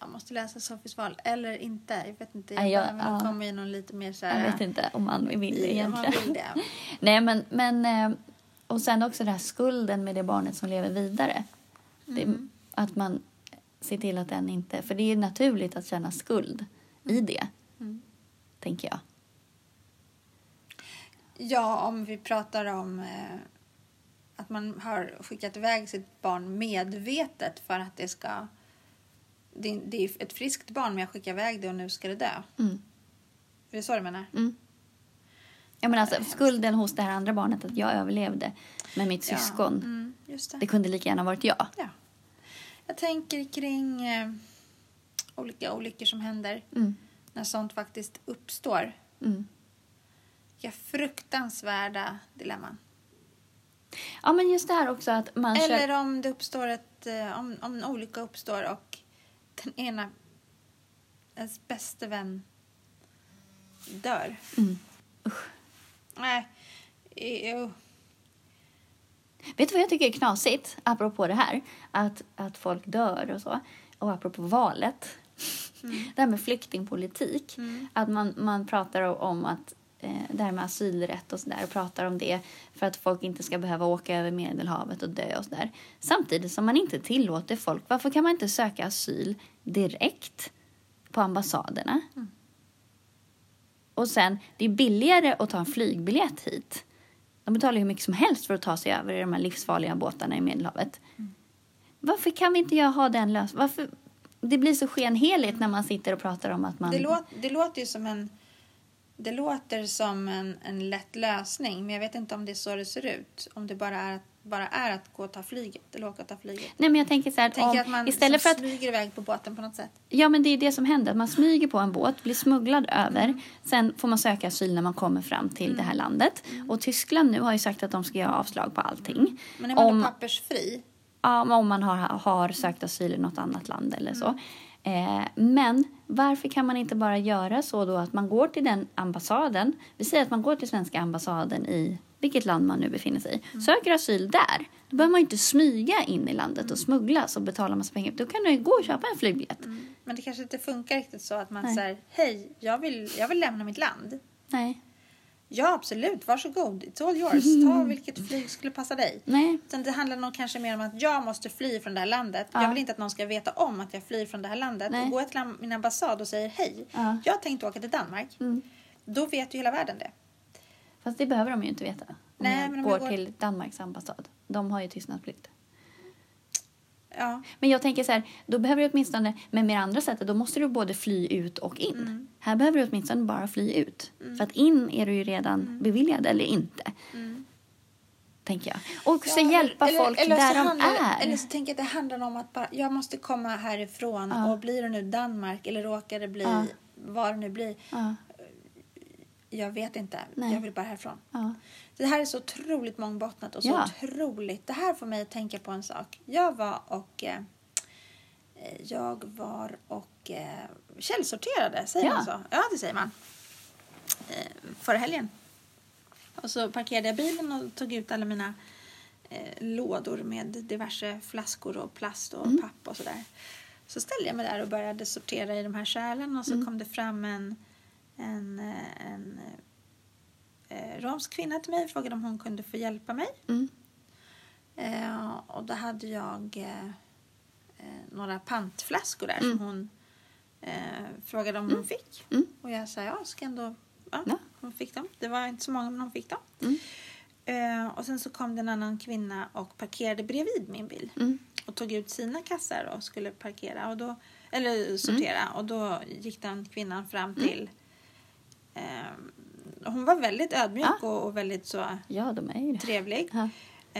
A: Jag måste läsa Sofies val. Eller inte. Jag vet inte.
B: Nej, jag-
A: behöver nog
B: ja.
A: komma i någon lite mer så
B: jag
A: här...
B: vet inte om man vill det
A: i- om man
B: egentligen.
A: vill det.
B: Nej, men, men eh, och sen också den här skulden med det barnet som lever vidare. Det, att man ser till att den inte, för det är ju naturligt att känna skuld i det,
A: Mm.
B: tänker jag.
A: Ja, om vi pratar om eh, att man har skickat iväg sitt barn medvetet för att det ska... Det, det är ett friskt barn, men jag skickar iväg det och nu ska det dö.
B: Mm.
A: Är det så du menar?
B: Mm. Ja, men alltså, skulden hos det här andra barnet att jag överlevde med mitt syskon.
A: Ja, mm, just det.
B: Det kunde lika gärna varit jag.
A: Ja. Jag tänker kring eh, olika olyckor som händer
B: Mm.
A: när sånt faktiskt uppstår.
B: Mm.
A: Vilka fruktansvärda dilemman.
B: Ja, men just det här också att man kör...
A: Eller om det uppstår ett, eh, om, om en olycka uppstår och den ena, ens bäste vän, dör.
B: Mm.
A: Nej, jo.
B: Vet du vad jag tycker är knasigt, apropå det här? Att, att folk dör och så. Och apropå valet. Det här med flyktingpolitik.
A: Mm.
B: Att man, man pratar o- om att eh, det här med asylrätt och sådär. Pratar om det för att folk inte ska behöva åka över Medelhavet och dö och sådär. Samtidigt som man inte tillåter folk. Varför kan man inte söka asyl direkt på ambassaderna? Och sen, det är billigare att ta en flygbiljett hit. De betalar ju hur mycket som helst för att ta sig över i de här livsfarliga båtarna i Medelhavet.
A: Mm.
B: Varför kan vi inte jag ha den lösningen? Varför? Det blir så skenheligt när man sitter och pratar om att man...
A: Det, låt, det låter ju som en det låter som en, en lätt lösning, men jag vet inte om det är så det ser ut. Om det bara är, bara är att gå och ta flyget, eller åka och ta flyget.
B: Nej, men jag tänker så här att,
A: Jag tänker
B: om,
A: att man
B: istället för
A: liksom
B: att...
A: smyger iväg på båten på något sätt.
B: Ja, men det är ju det som händer. Att man smyger på en båt, blir smugglad
A: Mm.
B: över. Sen får man söka asyl när man kommer fram till det här landet. Och Tyskland nu har ju sagt att de ska göra avslag på allting.
A: Mm. Men är man
B: Om-
A: då pappersfri?
B: Ja, men om man har, har sökt asyl i något annat land eller så.
A: Mm.
B: Eh, men varför kan man inte bara göra så då att man går till den ambassaden. Vi säger att man går till svenska ambassaden i vilket land man nu befinner sig i.
A: Mm.
B: Söker asyl där. Då behöver man ju inte smyga in i landet
A: Mm.
B: och smugglas och betala massa pengar. Då kan du ju gå och köpa en flygbiljett.
A: Men det kanske inte funkar riktigt så att man
B: Nej.
A: säger hej, jag vill, jag vill lämna mitt land.
B: Nej.
A: Ja, absolut, varsågod, it's all yours. Ta vilket flyg skulle passa dig.
B: Nej.
A: Utan det handlar nog kanske mer om att jag måste fly från det här landet.
B: Ja.
A: Jag vill inte att någon ska veta om att jag flyr från det här landet.
B: Nej.
A: Och går jag till am- min ambassad och säger hej,
B: Ja.
A: jag tänkte åka till Danmark.
B: Mm.
A: Då vet ju hela världen det.
B: Fast det behöver de ju inte veta. Om
A: Nej,
B: jag
A: men om
B: går,
A: jag går-
B: till Danmarks ambassad. De har ju tystnadsplikt.
A: Ja,
B: Men jag tänker så här, då behöver du åtminstone, men med det andra sättet, då måste du både fly ut och in.
A: Mm.
B: Här behöver du åtminstone bara fly ut. För att in är du ju redan
A: Mm.
B: beviljad eller inte. Tänker jag. Och så
A: Ja,
B: hjälpa
A: eller-
B: folk
A: eller
B: där
A: så
B: de
A: handlar,
B: är.
A: Eller så tänker jag att det handlar om att bara, jag måste komma härifrån
B: Ja.
A: och blir det nu Danmark eller råkar det bli
B: Ja.
A: vad det nu blir.
B: Ja,
A: Jag vet inte.
B: Nej.
A: Jag vill bara härifrån.
B: ja.
A: Det här är så otroligt mångbottnat och så
B: Ja.
A: otroligt. Det här får mig att tänka på en sak. Jag var och eh, jag var och eh, källsorterade, säger
B: Ja.
A: man så? Ja, det säger man. Eh, förra helgen. Och så parkerade jag bilen och tog ut alla mina eh, lådor med diverse flaskor och plast och papp och sådär. Så ställde jag mig där och började sortera i de här kärlen och så kom det fram en, en, eh, en eh, romsk kvinna till mig och frågade om hon kunde få hjälpa mig.
B: Mm.
A: Eh, och då hade jag eh, eh, några pantflaskor där som hon eh, frågade om hon fick.
B: Mm.
A: Och jag sa ja, ska ändå... Ja,
B: Ja.
A: Hon fick dem. Det var inte så många, men hon fick dem.
B: Mm.
A: Eh, och sen så kom det en annan kvinna och parkerade bredvid min bil.
B: Mm.
A: Och tog ut sina kassar och skulle parkera och då,
B: Mm.
A: eller sortera. Och då gick den kvinnan fram till... Eh, hon var väldigt ödmjuk och, och väldigt så
B: Ja, de är ju det.
A: trevlig.
B: Ja.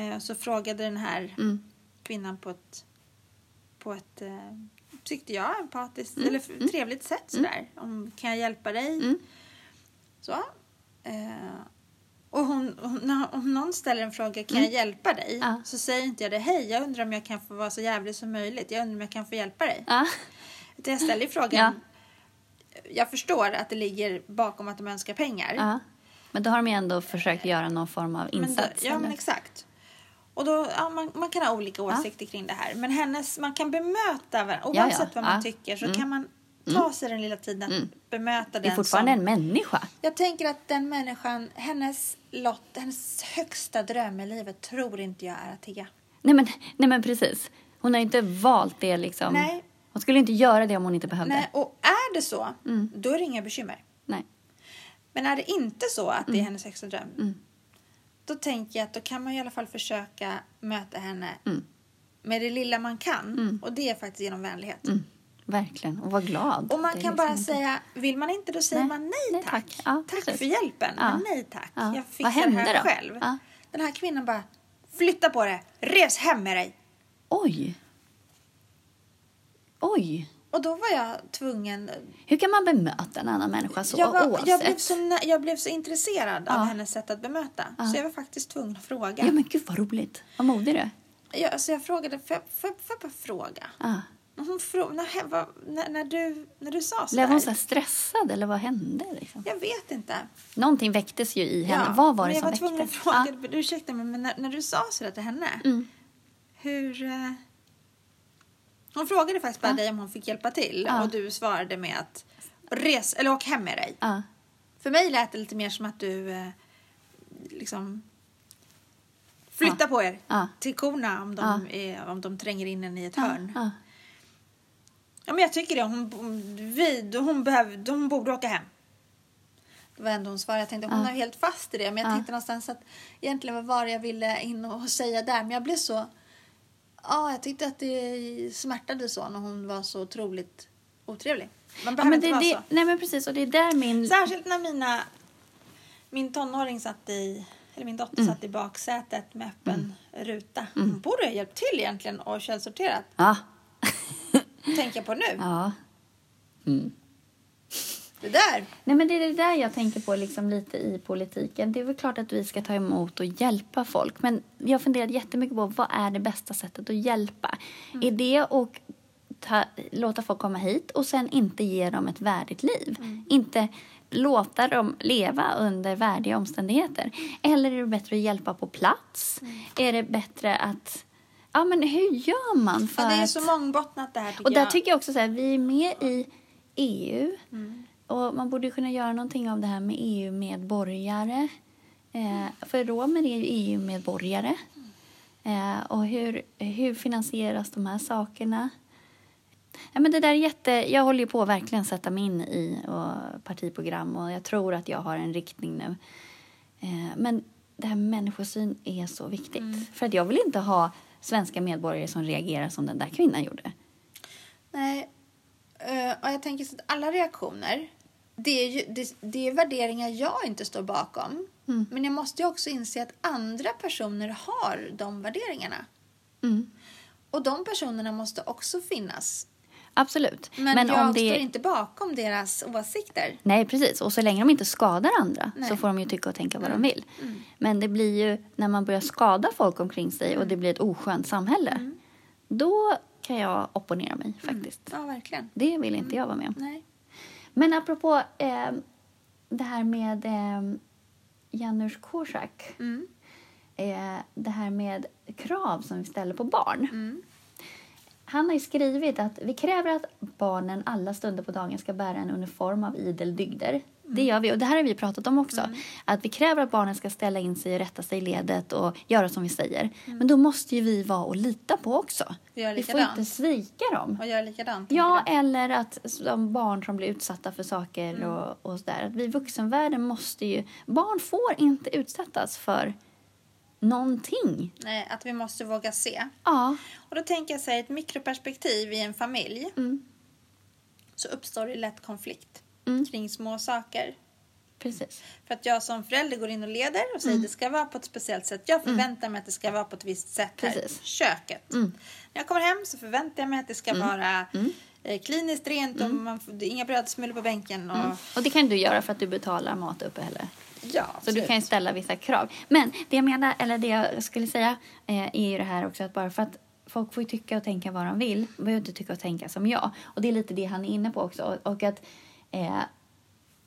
A: Eh, så frågade den här
B: Mm.
A: kvinnan på ett, på ett eh, tyckte jag, empatiskt eller f- trevligt sätt sådär. Om, kan jag hjälpa dig?
B: Mm.
A: Så. Eh, och hon, hon, när- om någon ställer en fråga, kan jag hjälpa dig?
B: Mm. Ja.
A: Så säger inte jag det, hej, jag undrar om jag kan få vara så jävlig som möjligt. Jag undrar om jag kan få hjälpa dig.
B: Ja.
A: Utan jag ställer ju frågan, jag förstår att det ligger bakom att de önskar pengar.
B: ja. Men då har de ju ändå försökt göra någon form av
A: Men då,
B: insats.
A: ja, men liksom
B: eller?
A: exakt. Och då, ja, man, man kan ha olika åsikter kring det här. Men hennes, man kan bemöta varandra.
B: ja.
A: Oavsett vad man
B: Ja. Mm.
A: tycker så kan man ta sig den lilla tiden att bemöta
B: det är
A: den
B: fortfarande
A: som...
B: en människa.
A: Jag tänker att den människan, hennes lott, hennes högsta dröm i livet tror inte jag är att tigga.
B: Nej men, nej, men precis. Hon har ju inte valt det liksom.
A: Nej.
B: Hon skulle inte göra det om hon inte behövde.
A: Nej, och är det så,
B: Mm.
A: då är det inga bekymmer.
B: Nej.
A: Men är det inte så att
B: Mm.
A: det är hennes högsta dröm, då tänker jag att då kan man i alla fall försöka möta henne
B: Mm.
A: med det lilla man kan. Och det är faktiskt genom vänlighet.
B: Mm. Verkligen. Och var glad.
A: Och man
B: Det är
A: kan
B: liksom
A: bara
B: inte-
A: säga, vill man inte då säger
B: Nej.
A: man nej,
B: Nej,
A: tack.
B: tack. Ja, precis.
A: för hjälpen,
B: Ja.
A: men nej tack.
B: Ja.
A: Jag
B: Vad
A: fixar det
B: hände
A: här
B: då?
A: själv.
B: Ja.
A: Den här kvinnan bara, flytta på det, res hem med dig.
B: Oj. Oj.
A: Och då var jag tvungen,
B: Hur kan man bemöta en annan människa så
A: jag, var,
B: oavsett?
A: jag, blev, så, nä- jag blev så intresserad
B: Ja.
A: av hennes sätt att bemöta. Så jag var faktiskt tvungen att fråga.
B: Ja men gud vad roligt. Vad modig du är.
A: Jag, så jag frågade, får jag- får jag får jag bara fråga?
B: Ja.
A: Och Hon frå, när, vad, när, när, du, när du sa
B: Blev hon så
A: sådär,
B: här stressad eller vad hände? Liksom?
A: jag vet inte.
B: Någonting väcktes ju i henne.
A: Ja,
B: vad var
A: men
B: det
A: jag
B: som
A: var tvungen att
B: väcktes?
A: fråga,
B: Ja.
A: men ursäkta mig, men när, när du sa sådär till henne,
B: Mm.
A: hur... eh, Hon frågade faktiskt bara dig om hon fick hjälpa till
B: Ja.
A: och du svarade med att res, eller åk hem med dig.
B: Ja.
A: För mig lät det lite mer som att du eh, liksom flytta på er
B: Ja.
A: till korna om de, är, om de tränger in en i
B: Ah.
A: ett hörn.
B: Ja.
A: Ja, men jag tycker det. Hon, vi, hon, behöv, hon borde åka hem. Det var ändå hon svarade. Jag tänkte hon är helt fast i det. Men jag
B: Ja.
A: tänkte någonstans att egentligen vad var det jag ville in och säga där. Men jag blev så... Ja, jag tyckte att det smärtade så när hon var så otroligt otrevlig. Man
B: Ja,
A: behöver
B: men det,
A: inte
B: det,
A: vara
B: nej men precis och det är där min...
A: så. Särskilt när mina... Min tonåring satt i... Eller min dotter
B: Mm.
A: satt i baksätet med öppen ruta. Hon borde ha hjälpt till egentligen och källsorterat.
B: Ja.
A: Tänker jag på nu.
B: Ah. ja. Mm.
A: Det där.
B: Nej, men det är det där jag tänker på liksom lite i politiken. Det är väl klart att vi ska ta emot och hjälpa folk. Men jag har funderat jättemycket på vad är det bästa sättet att hjälpa?
A: Mm.
B: Är det att ta, låta folk komma hit och sen inte ge dem ett värdigt liv?
A: Mm.
B: Inte låta dem leva under värdiga omständigheter? Eller är det bättre att hjälpa på plats?
A: Mm.
B: Är det bättre att... Ja, men hur gör man för
A: Ja, det är
B: att...
A: så mångbottnat det här tycker
B: Och där
A: jag.
B: tycker jag också så här, vi är med i EU.
A: Mm.
B: Och man borde ju kunna göra någonting av det här med EU-medborgare. Eh, för romer är ju EU-medborgare. Eh, och hur, hur finansieras de här sakerna? Ja, men det där är jätte, jag håller ju på att verkligen sätta mig in i och partiprogram och jag tror att jag har en riktning nu. Eh, men det här med människosyn är så viktigt.
A: Mm.
B: För att jag vill inte ha svenska medborgare som reagerar som den där kvinnan gjorde.
A: Nej. Eh, och jag tänker så att alla reaktioner, det är, ju, det, det är värderingar jag inte står bakom.
B: Mm.
A: Men jag måste ju också inse att andra personer har de värderingarna.
B: Mm.
A: Och de personerna måste också finnas.
B: Absolut.
A: Men, jag
B: om det
A: står inte bakom deras åsikter.
B: Nej, precis. Och så länge de inte skadar andra
A: Nej. Mm.
B: så får de ju tycka och tänka vad de vill. Men det blir ju när man börjar skada folk omkring sig och det blir ett oskönt samhälle.
A: Mm.
B: Då kan jag opponera mig faktiskt.
A: Ja, verkligen.
B: Det vill inte jag vara med om.
A: Nej.
B: Men apropå eh, det här med eh, Janusz Korsak.
A: Mm.
B: Eh, det här med krav som vi ställer på barn.
A: Mm.
B: Han har ju skrivit att vi kräver att barnen alla stunder på dagen ska bära en uniform av idel dygder.
A: Mm.
B: Det gör vi och det här har vi pratat om också. Att vi kräver att barnen ska ställa in sig och rätta sig i ledet och göra som vi säger. Men då måste ju vi vara och lita på också.
A: Mm. Vi gör
B: Vi får
A: likadant.
B: inte svika dem.
A: Och gör likadant.
B: Ja, eller att de barn som blir utsatta för saker och, och sådär. Att vi i vuxenvärlden måste ju... Barn får inte utsättas för någonting.
A: Nej, att vi måste våga se.
B: Ja.
A: Och då tänker jag så här, ett mikroperspektiv i en familj
B: Mm.
A: så uppstår det lätt konflikt
B: Mm.
A: kring små saker.
B: Precis.
A: För att jag som förälder går in och leder och
B: Mm.
A: säger det ska vara på ett speciellt sätt. Jag förväntar mig att det ska vara på ett visst sätt
B: Precis. Mm.
A: här. Köket. När jag kommer hem så förväntar jag mig att det ska vara eh, kliniskt rent
B: Mm.
A: och man får, det är inga brödsmulor på bänken. Och,
B: Och det kan du göra för att du betalar matuppehälle.
A: Ja,
B: Så du
A: absolut.
B: kan ju ställa vissa krav. Men det jag menar, eller det jag skulle säga eh, är ju det här också att bara för att folk får ju tycka och tänka vad de vill, de behöver inte tycka och tänka som jag. Och det är lite det han är inne på också. Och, och att eh,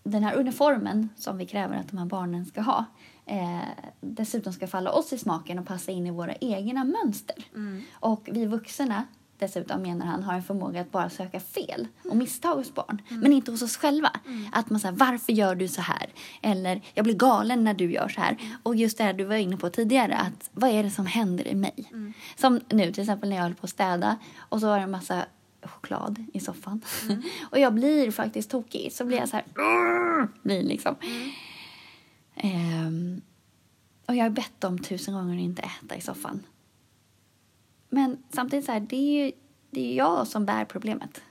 B: den här uniformen som vi kräver att de här barnen ska ha eh, dessutom ska falla oss i smaken och passa in i våra egna mönster. Och vi vuxna dessutom menar han har en förmåga att bara söka fel och misstag hos barn. Men inte hos oss själva. Att man säger varför gör du så här? Eller jag blir galen när du gör så här. Och just det här du var inne på tidigare att vad är det som händer i mig? Som nu till exempel när jag höll på att städa och så var det en massa choklad i soffan. och jag blir faktiskt tokig. Så blir jag så här... "Urgh!" Blir liksom. Ehm, och jag har bett dem tusen gånger att inte äta i soffan. Men samtidigt så här, det är ju det är ju jag som bär problemet.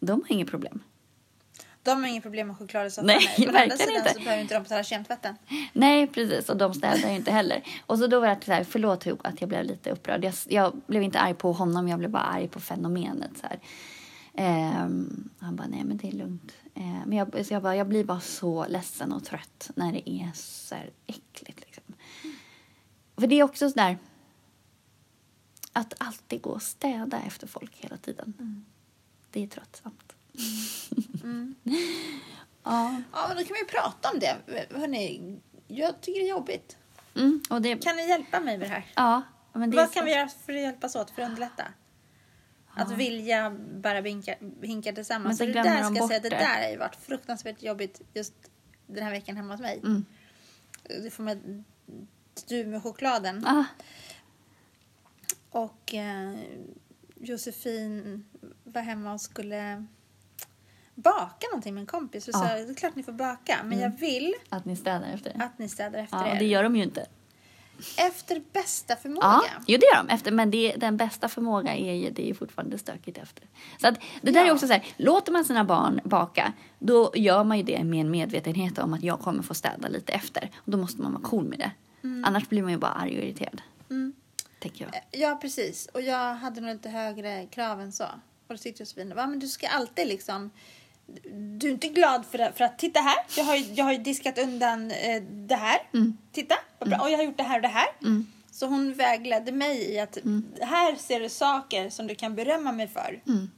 B: De har inget problem.
A: De har inget problem med choklad i soffan.
B: Nej,
A: Men å andra
B: verkligen
A: sidan
B: inte.
A: så behöver inte de betala kemtvätten.
B: Nej, precis. Och de städar ju inte heller. Och så då var jag så här, förlåt Hugo att jag blev lite upprörd. Jag, jag blev inte arg på honom, jag blev bara arg på fenomenet. Så här. Ehm, han bara, nej men det är lugnt. Ehm, men jag, så jag, bara, jag blir bara så ledsen och trött när det är så här äckligt. Liksom. För det är också sådär att alltid gå och städa efter folk hela tiden.
A: Mm.
B: Det är tröttsamt.
A: Mm.
B: ja.
A: Ja, men då kan vi ju prata om det. Hörrni, jag tycker det är jobbigt.
B: Mm, och det,
A: Kan ni hjälpa mig med det här?
B: ja, men det är
A: Vad
B: så-
A: kan vi göra för att hjälpas åt för att underlätta? Att vilja bära hinkar, hinkar
B: Men
A: tillsammans.
B: så
A: Men det
B: glömmer
A: där ska
B: de
A: jag säga, att det
B: bort det.
A: där har ju varit fruktansvärt jobbigt just den här veckan hemma hos mig.
B: Mm.
A: Det får med du med chokladen.
B: Ah,
A: Och eh, Josefin var hemma och skulle baka någonting med en kompis. Så
B: Ja.
A: sa jag, det är klart ni får baka, men jag vill
B: att ni städar efter.
A: att ni städar efter
B: ja, och
A: er.
B: det gör de ju inte.
A: Efter bästa förmåga.
B: Ja, jo, det gör de. Efter, men det, den bästa förmågan är ju, det är ju fortfarande stökigt efter. Så att, det där
A: Ja.
B: är också så här, låter man sina barn baka, då gör man ju det med en medvetenhet om att jag kommer få städa lite efter. Och då måste man vara cool med det. Annars blir man ju bara arg och irriterad.
A: Mm.
B: Tänker jag.
A: Ja, precis. Och jag hade nog lite högre krav än så. Och då tyckte Josefin, va, men du ska alltid liksom... Du är inte glad för, det, för att titta här, jag har ju, jag har ju diskat undan eh, det här. Titta, vad bra. Och jag har gjort det här och det här. Så hon vägledde mig i att här ser du saker som du kan berömma mig för.
B: Mm.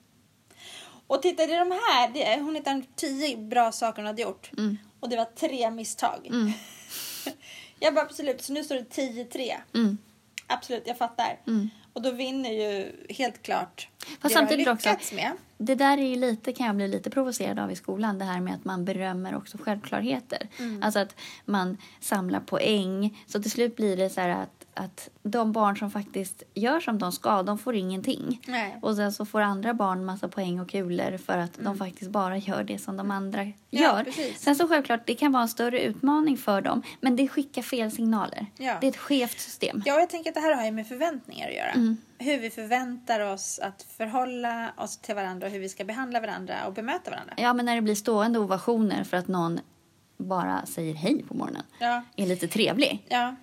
A: Och titta, det är de här. Det är, hon hittade tio bra saker hon hade gjort.
B: Mm.
A: Och det var tre misstag. jag bara, absolut, så nu står det 10-3.
B: Mm.
A: Absolut, jag fattar. Och då vinner ju helt klart det
B: samtidigt
A: du har
B: också-
A: lyckats med.
B: Det där är ju lite, kan jag bli lite provocerad av i skolan, det här med att man berömmer också självklarheter.
A: Mm.
B: Alltså att man samlar poäng. Så till slut blir det så här att, att de barn som faktiskt gör som de ska, de får ingenting.
A: Nej.
B: Och sen så får andra barn massa poäng och kulor för att de faktiskt bara gör det som de andra
A: Mm. Ja,
B: gör.
A: precis.
B: sen så självklart, det kan vara en större utmaning för dem, men det skickar fel signaler.
A: Ja.
B: Det Mm. är ett skevt system.
A: Ja, och jag tänker att det här har ju med förväntningar att göra. Hur vi förväntar oss att förhålla oss till varandra och hur vi ska behandla varandra och bemöta varandra.
B: Ja, men när det blir stående ovationer för att någon bara säger hej på morgonen.
A: Ja.
B: Är lite trevlig.
A: Ja,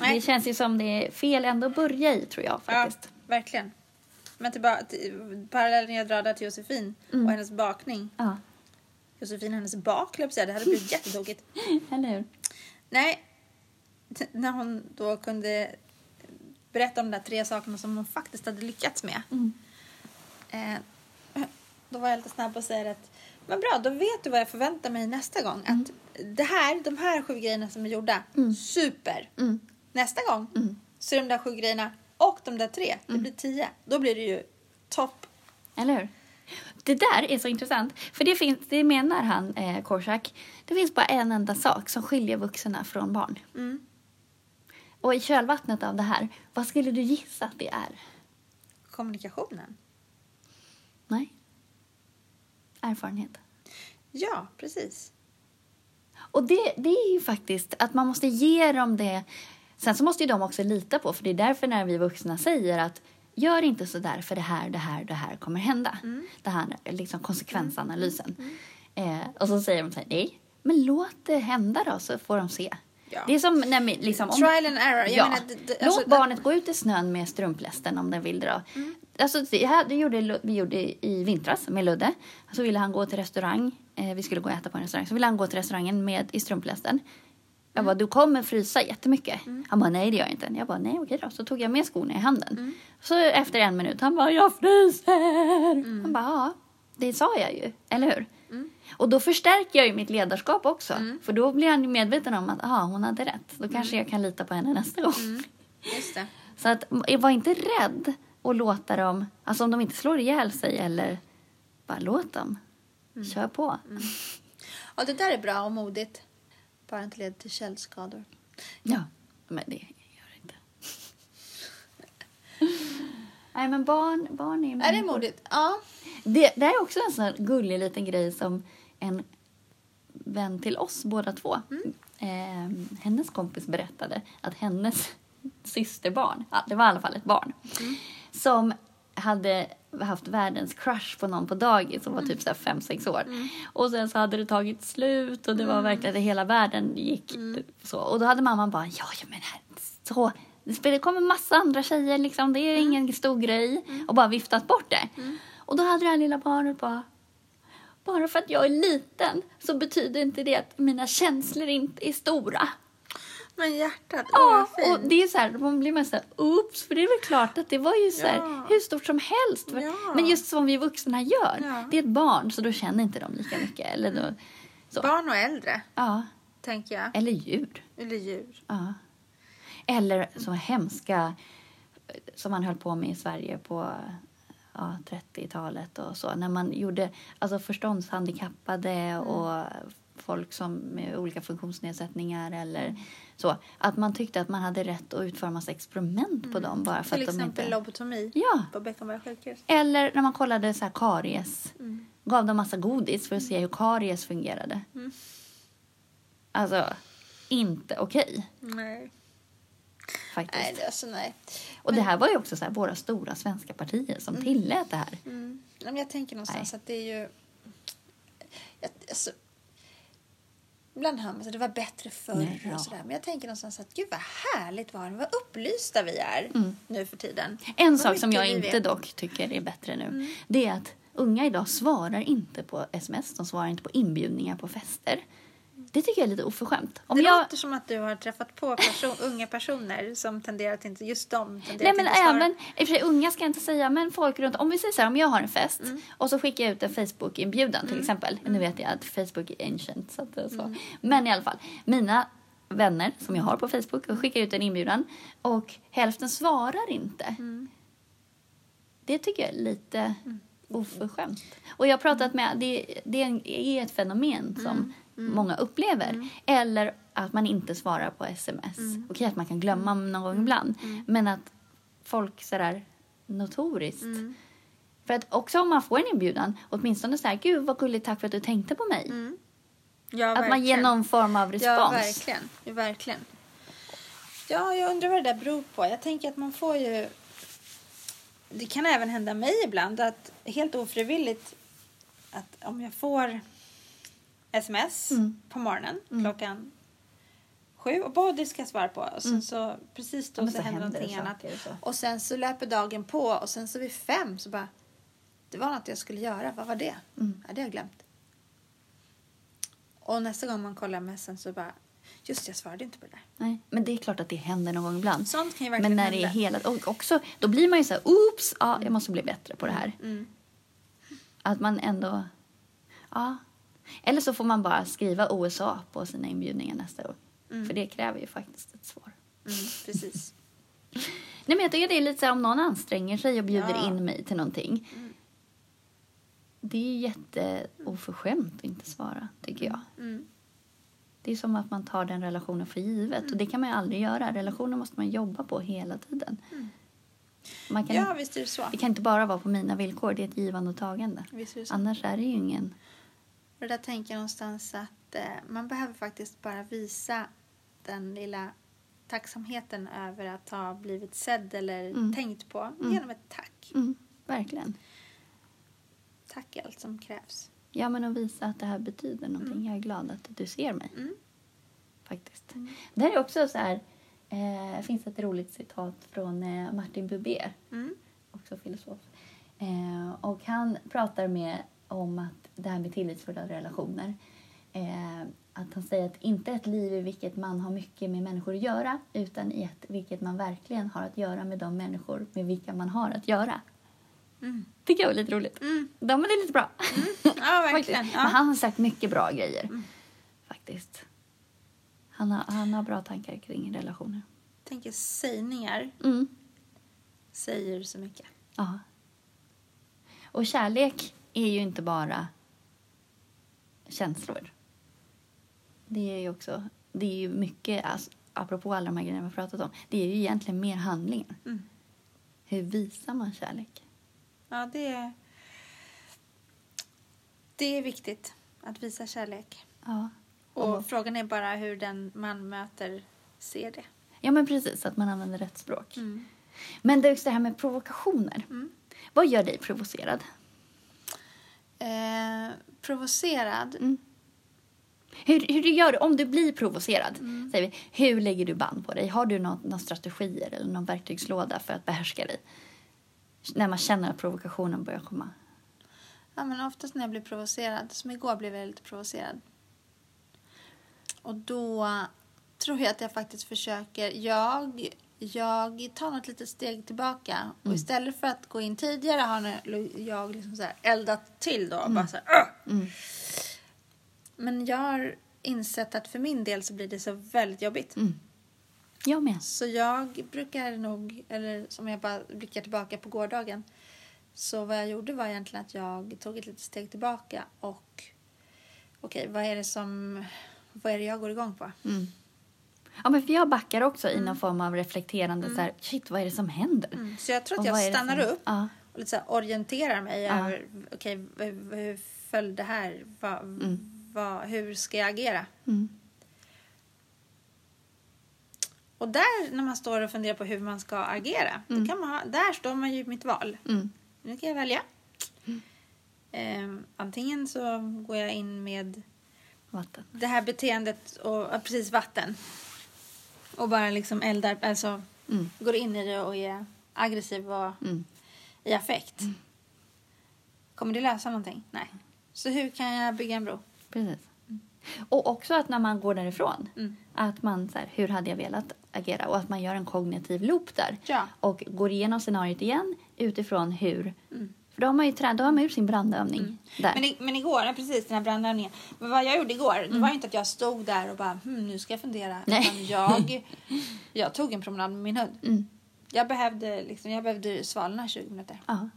A: Nej.
B: Det känns ju som det är fel ändå att börja i tror jag
A: ja
B: faktiskt.
A: verkligen. Men tillbaka till parallellen jag drar där till Josefin
B: Mm.
A: och hennes bakning.
B: Ja.
A: Josefin hennes bak, höll jag på att säga. Det hade blivit jättetokigt.
B: Eller hur?
A: Nej, T- när hon då kunde berätta om de där tre sakerna som hon faktiskt hade lyckats med.
B: Mm.
A: Eh, då var jag lite snabb och säger att men bra, då vet du vad jag förväntar mig nästa gång. Att
B: Mm.
A: det här, de här sju grejerna som är gjorda, super.
B: Mm.
A: Nästa gång så är de där sju grejerna och de där tre,
B: Mm.
A: det blir tio. Då blir det ju topp.
B: Eller hur? Det där är så intressant, för det, finns, det menar han, eh, Korsak. Det finns bara en enda sak som skiljer vuxna från barn.
A: Mm.
B: Och i kölvattnet av det här, vad skulle du gissa att det är?
A: Kommunikationen.
B: Nej? Erfarenhet.
A: Ja, precis.
B: Och det, det är ju faktiskt att man måste ge dem det Sen så måste ju de också lita på, för det är därför när vi vuxna säger att gör inte så där för det här, det här, det här kommer hända.
A: Mm.
B: Det här liksom konsekvensanalysen. Eh, och så säger de så här, nej, men låt det hända då så får de se.
A: Ja.
B: Det är som när vi liksom... Om,
A: Trial and error. Jag
B: ja.
A: menar, det- det- Mm.
B: Låt
A: alltså,
B: barnet gå ut i snön med strumplästen om den vill dra. Alltså, det här det gjorde, Lu- vi gjorde i vintras med Ludde. Så ville han gå till restaurang. Eh, vi skulle gå och äta på en restaurang. Så ville han gå till restaurangen med, i strumplästen. Jag bara, du kommer frysa jättemycket. Han bara, nej det gör jag inte. Jag bara, nej okej då. Så tog jag med skorna i handen. Så efter en minut, han bara, jag fryser. Han bara, ja. Det sa jag ju, eller hur? Och då förstärker jag ju mitt ledarskap också. För då blir han ju medveten om att, ah, hon hade rätt. Då kanske jag kan lita på henne nästa gång.
A: Just det.
B: Så att, m- var inte rädd och låta dem, alltså om de inte slår ihjäl sig eller bara låt dem. Kör på.
A: Ja, det där är bra och modigt. Bara inte leder till källskador.
B: Ja, men det gör det inte. Nej men barn, barn är ju
A: Är det
B: människor.
A: modigt? Ja.
B: Det, det här är också en sån här gullig liten grej som en vän till oss båda två. Eh, hennes kompis berättade att hennes systerbarn, ja, det var i alla fall ett barn, som hade haft världens crush på någon på dagis som var typ så här fem sex år. Och sen så hade det tagit slut och det var verkligen att hela världen gick så. Och då hade mamman bara, ja, ja men här, så, det spelar- det kommer massa andra tjejer liksom, det är ingen stor grej. Och bara viftat bort det. Och då hade det här lilla barnet bara, bara för att jag är liten så betyder inte det att mina känslor inte är stora.
A: Men hjärtat, åh
B: Ja,
A: vad fint.
B: och det är så här, man blir mest så här, oops, för det är väl klart att det var ju så här,
A: Ja.
B: hur stort som helst.
A: Ja.
B: Men just som vi vuxna gör,
A: Ja.
B: det är ett barn så då känner inte de lika mycket. Eller, då, så.
A: Barn och äldre,
B: ja,
A: tänker jag.
B: eller djur.
A: Eller djur.
B: Ja. Eller så hemska som man höll på med i Sverige på ja, 30-talet och så. När man gjorde alltså förståndshandikappade
A: Mm.
B: och folk som med olika funktionsnedsättningar eller så. Att man tyckte att man hade rätt att utföra massa experiment på dem bara för
A: Mm. Till
B: att de
A: exempel
B: inte...
A: lobotomi
B: Ja,
A: på Beckomberga sjukhus.
B: eller när man kollade så här karies.
A: Mm.
B: Gav dem massa godis för att se hur karies fungerade.
A: Mm.
B: Alltså, inte okej
A: Nej.
B: faktiskt.
A: Nej, det, alltså nej.
B: Och det här var ju också så här, våra stora svenska partier som tillät det här.
A: Mm. Ja, Men jag tänker någonstans att det är ju... Jag, alltså, ibland hör man så det var bättre förr
B: Nej, ja.
A: och sådär. Men jag tänker någonstans att gud vad härligt var det. Vad upplysta vi är nu för tiden.
B: En
A: Vad
B: sak som
A: mycket
B: jag
A: vi
B: inte
A: vet. Mm.
B: dock tycker är bättre nu, det är att unga idag svarar inte på sms, de svarar inte på inbjudningar på fester. Det tycker jag är lite oförskämt. Om
A: det
B: jag,
A: låter som att du har träffat på person, unga personer som tenderar att inte... Just de tenderar
B: nej men
A: att typ inte svara.
B: även, i och för sig unga ska jag inte säga, men folk runt om vi säger så här, om jag har en fest
A: Mm.
B: och så skickar jag ut en Facebook-inbjudan till exempel. Nu vet jag att Facebook är ancient så att det är så.
A: Mm.
B: Men i alla fall, mina vänner som jag har på Facebook och skickar ut en inbjudan och hälften svarar inte. Det tycker jag är lite
A: Mm.
B: oförskämt. Och jag har pratat med, det, det är en- är ett
A: Mm.
B: fenomen som många upplever. Eller att man inte svarar på sms.
A: Mm.
B: Okej att man kan glömma någon gång ibland. Men att folk sådär notoriskt.
A: Mm.
B: För att också om man får en inbjudan, åtminstone såhär, gud vad gulligt, tack för att du tänkte på mig.
A: Mm. Ja,
B: Att man ger
A: verkligen.
B: någon form av respons.
A: Ja, verkligen. Ja, verkligen. Ja, jag undrar vad det där beror på. Jag tänker att man får ju... Det kan även hända mig ibland att helt ofrivilligt att om jag får sms
B: Mm.
A: på morgonen klockan sju och bara det ska jag svara på och sen så precis då
B: Mm. Ja, men
A: så,
B: så
A: händer
B: händer det
A: någonting annat
B: saker och så.
A: och sen så löper dagen på och sen så vid fem så bara det var något jag skulle göra, vad var det?
B: Mm.
A: Ja, det har jag glömt. Och nästa gång man kollar messen så bara, just det, jag svarade inte på det där.
B: Nej, men det är klart att det händer någon gång ibland.
A: Sånt kan ju verkligen
B: Men när det är
A: hända.
B: hela, och också, då blir man ju så här, oops, ja, jag måste bli bättre på det här.
A: Mm.
B: Att man ändå, ja. Eller så får man bara skriva OSA på sina inbjudningar nästa gång. För det kräver ju faktiskt ett svar.
A: Mm, precis.
B: Nej men jag tycker det är lite så här, om någon anstränger sig och bjuder
A: Ja. Mm.
B: in mig till någonting. Det är jätteoförskämt att inte svara, tycker jag.
A: Mm.
B: Det är som att man tar den relationen för givet
A: Mm.
B: och det kan man ju aldrig göra. Relationer måste man jobba på hela tiden. Man kan
A: Mm. Ja, visst är det så.
B: Det kan inte bara vara på mina villkor, det är ett givande och tagande.
A: Visst är det så.
B: Annars är det ju ingen...
A: Och där tänker jag någonstans att eh, man behöver faktiskt bara visa den lilla tacksamheten över att ha blivit sedd eller
B: Mm.
A: tänkt på
B: Mm.
A: genom ett tack.
B: Mm, verkligen.
A: Tack är allt som krävs.
B: Ja, men att visa att det här betyder någonting. Jag är glad att du ser mig.
A: Mm.
B: Faktiskt. Det här är också så här... eh, Det finns ett roligt citat från eh, Martin Buber,
A: Mm.
B: också filosof. Eh, och han pratar med om att det här med tillitsfulla relationer. Eh, att han säger att inte ett liv i vilket man har mycket med människor att göra utan i ett vilket man verkligen har att göra med de människor med vilka man har att göra.
A: Mm.
B: tycker jag var lite roligt.
A: Mm.
B: Ja, men det är lite bra.
A: Ja, verkligen.
B: Faktiskt. Men
A: Ja. Mm.
B: han har sagt mycket bra grejer. Faktiskt. Han har, han har bra tankar kring relationer.
A: tänker sägningar
B: Mm.
A: säger så mycket.
B: Ja. Och kärlek är ju inte bara känslor. Det är ju också, det är ju mycket, alltså, apropå alla de här grejerna vi har pratat om, det är ju egentligen mer handlingar.
A: Mm.
B: Hur visar man kärlek?
A: Ja, det är... Det är viktigt att visa kärlek.
B: Ja.
A: Och
B: Och-
A: frågan är bara hur den man möter ser det.
B: ja, men precis, att man använder rätt språk. Men det är också det här med provokationer.
A: Mm.
B: Vad gör dig provocerad?
A: Eh, provocerad.
B: Mm. Hur, hur du gör om du blir provocerad?
A: Mm.
B: Säger vi, hur lägger du band på dig? Har du någon, någon strategier eller någon verktygslåda för att behärska dig? När man känner att provokationen börjar komma.
A: Ja, men oftast när jag blir provocerad, som igår blev jag lite provocerad. Och då tror jag att jag faktiskt försöker, jag, jag tar något litet steg tillbaka och istället för att gå in tidigare har nu- jag liksom så här eldat till då och bara så här, "Åh!"
B: Mm.
A: Men jag har insett att för min del så blir det så väldigt jobbigt.
B: mm. Jag med.
A: Så jag brukar nog, eller som jag bara blickar tillbaka på gårdagen, så vad jag gjorde var egentligen att jag tog ett litet steg tillbaka och okej, vad är det som, vad är det jag går igång på?
B: Mm. Ja, men för jag backar också
A: Mm.
B: i någon form av reflekterande. Så här, Shit, vad är det som händer?
A: Så jag tror
B: Och
A: Mm. att
B: vad är
A: jag
B: det
A: stannar
B: som-
A: upp
B: Ja.
A: och lite så här orienterar mig
B: Ja.
A: över, okej, v- v- hur föll det här? Va, va, hur ska jag agera?
B: Mm.
A: Och där, när man står och funderar på hur man ska agera, då kan man ha, där står man ju i mitt val.
B: Mm.
A: Nu kan jag välja. Eh, antingen så går jag in med
B: Vatten.
A: det här beteendet och ja, precis vatten. Och bara liksom eldar, alltså
B: Mm.
A: går in i det och är aggressiv och
B: Mm.
A: i affekt. Kommer det lösa någonting? Nej. Så hur kan jag bygga en bro?
B: Precis. Och också att när man går därifrån,
A: Mm.
B: att man så här, hur hade jag velat agera? Och att man gör en kognitiv loop där.
A: Ja.
B: Och går igenom scenariot igen utifrån hur.
A: Mm.
B: För då har man ju trä- då har man gjort sin brandövning där.
A: Men, i, men igår, ja, precis den här brandövningen. Men vad jag gjorde igår, det var ju inte att jag stod där och bara hmm, nu ska jag fundera.
B: Mm. Nej.
A: Utan jag, jag tog en promenad med min hund.
B: Mm.
A: Jag behövde, liksom, jag behövde svalna 20 minuter.
B: Ja.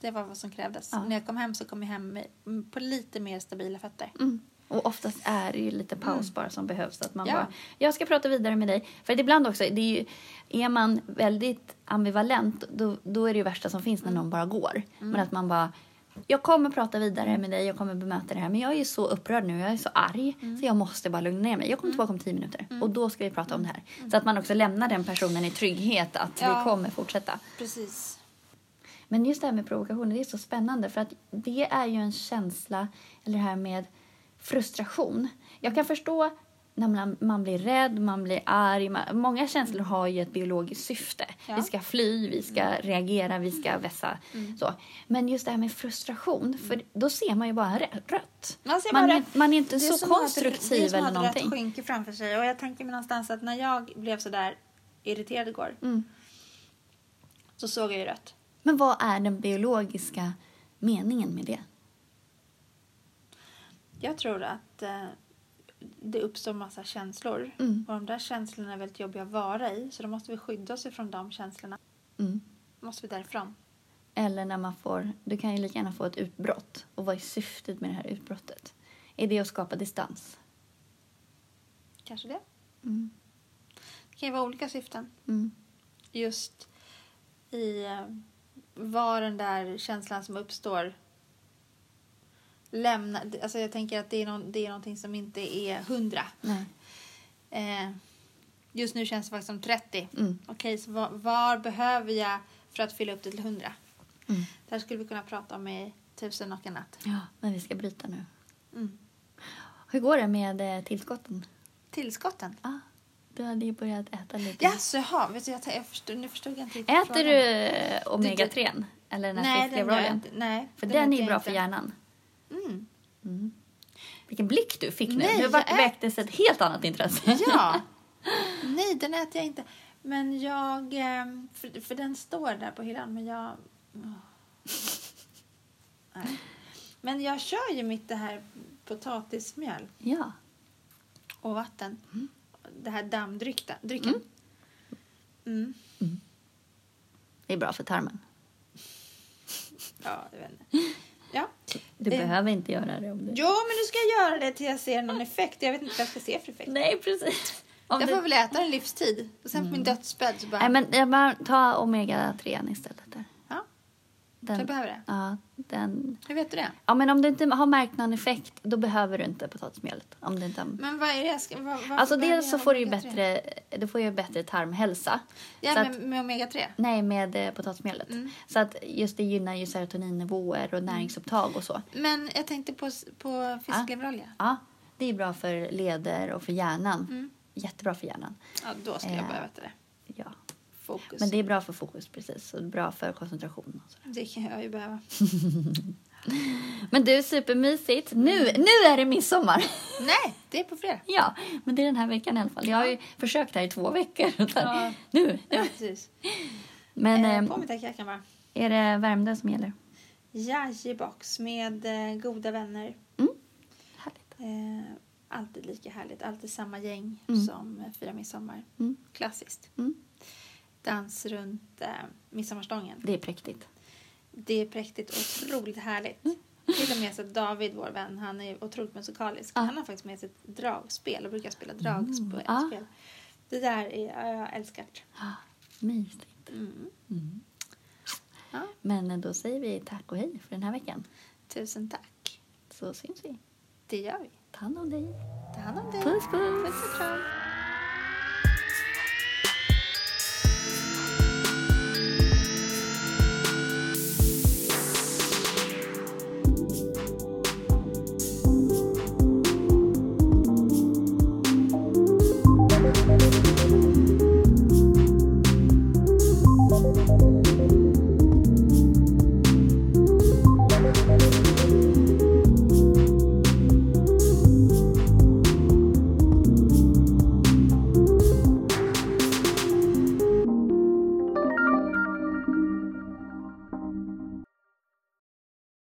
A: Det var vad som krävdes.
B: Ja.
A: När jag kom hem så kom jag hem med, m- på lite mer stabila fötter.
B: Mm. Och oftast är det ju lite paus bara som behövs. Att man
A: Mm. Ja.
B: bara, jag ska prata vidare med dig. För att ibland också, det är, ju, är man väldigt ambivalent då, då är det ju värsta som finns när
A: Mm.
B: någon bara går. Men att man bara, jag kommer prata vidare med dig, jag kommer bemöta det här. Men jag är ju så upprörd nu, jag är så arg.
A: Mm.
B: Så jag måste bara lugna ner mig. Jag kommer tillbaka om tio minuter och då ska vi prata om det här. Så att man också lämnar den personen i trygghet att
A: Mm. Ja.
B: vi kommer fortsätta.
A: Precis.
B: Men just det här med provokationer, det är så spännande för att det är ju en känsla, eller det här med frustration. Jag kan förstå när man, man blir rädd, man blir arg. Man, många känslor har ju ett biologiskt syfte.
A: Mm. Ja. Mm.
B: Vi ska fly, vi ska reagera, vi ska vässa. Så. Men just det här med frustration, för då ser man ju bara rö- rött.
A: Man ser
B: Man,
A: Mm. bara
B: är-
A: rött.
B: man är inte
A: är
B: så
A: som att ha ett-
B: konstruktiv
A: Det är som
B: eller
A: att ha ett
B: någonting.
A: rött skynke framför sig. Och jag tänker mig någonstans att när jag blev så där irriterad igår
B: Mm.
A: så såg jag ju rött.
B: Men vad är den biologiska meningen med det?
A: Jag tror att eh, det uppstår massa känslor.
B: Mm.
A: Och de där känslorna är väldigt jobbiga att vara i. Så då måste vi skydda oss ifrån de känslorna.
B: Mm.
A: måste vi därifrån.
B: Eller när man får, du kan ju lika gärna få ett utbrott. Och vad är syftet med det här utbrottet? Är det att skapa distans?
A: Kanske det.
B: Mm.
A: Det kan ju vara olika syften.
B: Mm.
A: just i eh, vad den där känslan som uppstår lämna, alltså jag tänker att det är, någon, det är någonting som inte är hundra.
B: Nej.
A: Eh, Just nu känns det faktiskt som 30.
B: Mm.
A: Okej, så vad, vad behöver jag för att fylla upp det till 100?
B: Mm.
A: Det här skulle vi kunna prata om i tusen och en natt.
B: Ja, men vi ska bryta nu.
A: Mm.
B: Hur går det med eh, tillskotten?
A: Tillskotten.
B: Ah, du hade ju börjat äta lite.
A: Jaså, jaha. Vet du, jag, jag förstod, nu förstod jag inte riktigt
B: Äter
A: frågan.
B: du eh, omega-3 eller
A: Nej, den
B: den här
A: gör jag
B: fiskleveroljan?
A: inte. Nej,
B: För den är
A: äter
B: ju
A: jag
B: bra
A: inte.
B: för hjärnan.
A: Mm.
B: Mm. Vilken blick du fick nu.
A: Nej,
B: nu
A: jag
B: var,
A: äter-
B: väcktes ett helt annat intresse.
A: Ja. Nej, den äter jag inte. Men jag... ehm, För, för den står där på hyllan, men jag... åh. Nej. Men jag kör ju mitt det här potatismjöl
B: ja.
A: och vatten. Det här dammdrycken. Drycken.
B: Mm.
A: Mm.
B: Det är bra för tarmen.
A: Ja, jag vet inte. Ja.
B: Du
A: Eh.
B: behöver inte göra det om du...
A: Jo, men du ska jag göra det till jag ser någon effekt. Jag vet inte vad jag ska se för effekt.
B: Nej, precis. Om
A: Jag
B: du...
A: får väl äta en livstid. Och sen på min dödsbädd så bara...
B: Nej, men jag bara, ta omega-3 istället. Där.
A: Ja,
B: Den...
A: jag behöver det.
B: Ja, den...
A: Hur vet du det?
B: Ja, men om du inte har märkt någon effekt, då behöver du inte potatismjölet. Om du inte har...
A: Men vad är det jag ska... Vad, varför
B: Alltså
A: behöver
B: dels så
A: jag
B: får du ju
A: omega-3?
B: bättre, du får ju bättre tarmhälsa.
A: Ja,
B: så
A: med,
B: att,
A: med omega-3.
B: nej, med eh, potatismjölet.
A: Mm.
B: Så att just det gynnar ju serotoninnivåer och näringsupptag och så.
A: Men jag tänkte på, s- på fiskleverolja.
B: Ja, det är bra för leder och för hjärnan.
A: Mm.
B: Jättebra för hjärnan.
A: Ja, då skulle jag
B: Eh,
A: behöva äta det.
B: Ja.
A: Fokus.
B: Men
A: det...
B: det är bra för fokus precis och bra för koncentration. Och sådär.
A: kan jag ju behöva.
B: Men du, supermysigt. Nu, nu är det midsommar!
A: Nej, det är på fredag.
B: ja, men det är den här veckan i alla fall. Jag har ju försökt här i två veckor. och så här,
A: Ja.
B: Nu,
A: Ja,
B: nu.
A: precis.
B: Men
A: eh,
B: eh,
A: på med täckjackan bara.
B: är det Värmdö som gäller?
A: Jajebox med eh, goda vänner.
B: Härligt.
A: Eh, alltid lika härligt. Alltid samma gäng
B: Mm.
A: som eh, firar midsommar.
B: Mm.
A: Klassiskt.
B: Mm.
A: Dans runt eh, midsommarstången.
B: Det är präktigt.
A: Det är präktigt och otroligt härligt.
B: Mm.
A: Till och med så att David, vår vän, han är otroligt musikalisk.
B: Ja.
A: Han har faktiskt med sig ett dragspel och brukar spela dragspel.
B: Ah.
A: Det där är, ja, jag älskar det.
B: Ah, mysigt.
A: Mm.
B: Mm.
A: Ja.
B: Men eh, då säger vi tack och hej för den här veckan.
A: Tusen tack.
B: Så syns vi.
A: Det gör vi.
B: Ta hand om dig.
A: Ta hand om dig.
B: Puss, puss.
A: Puss och kram.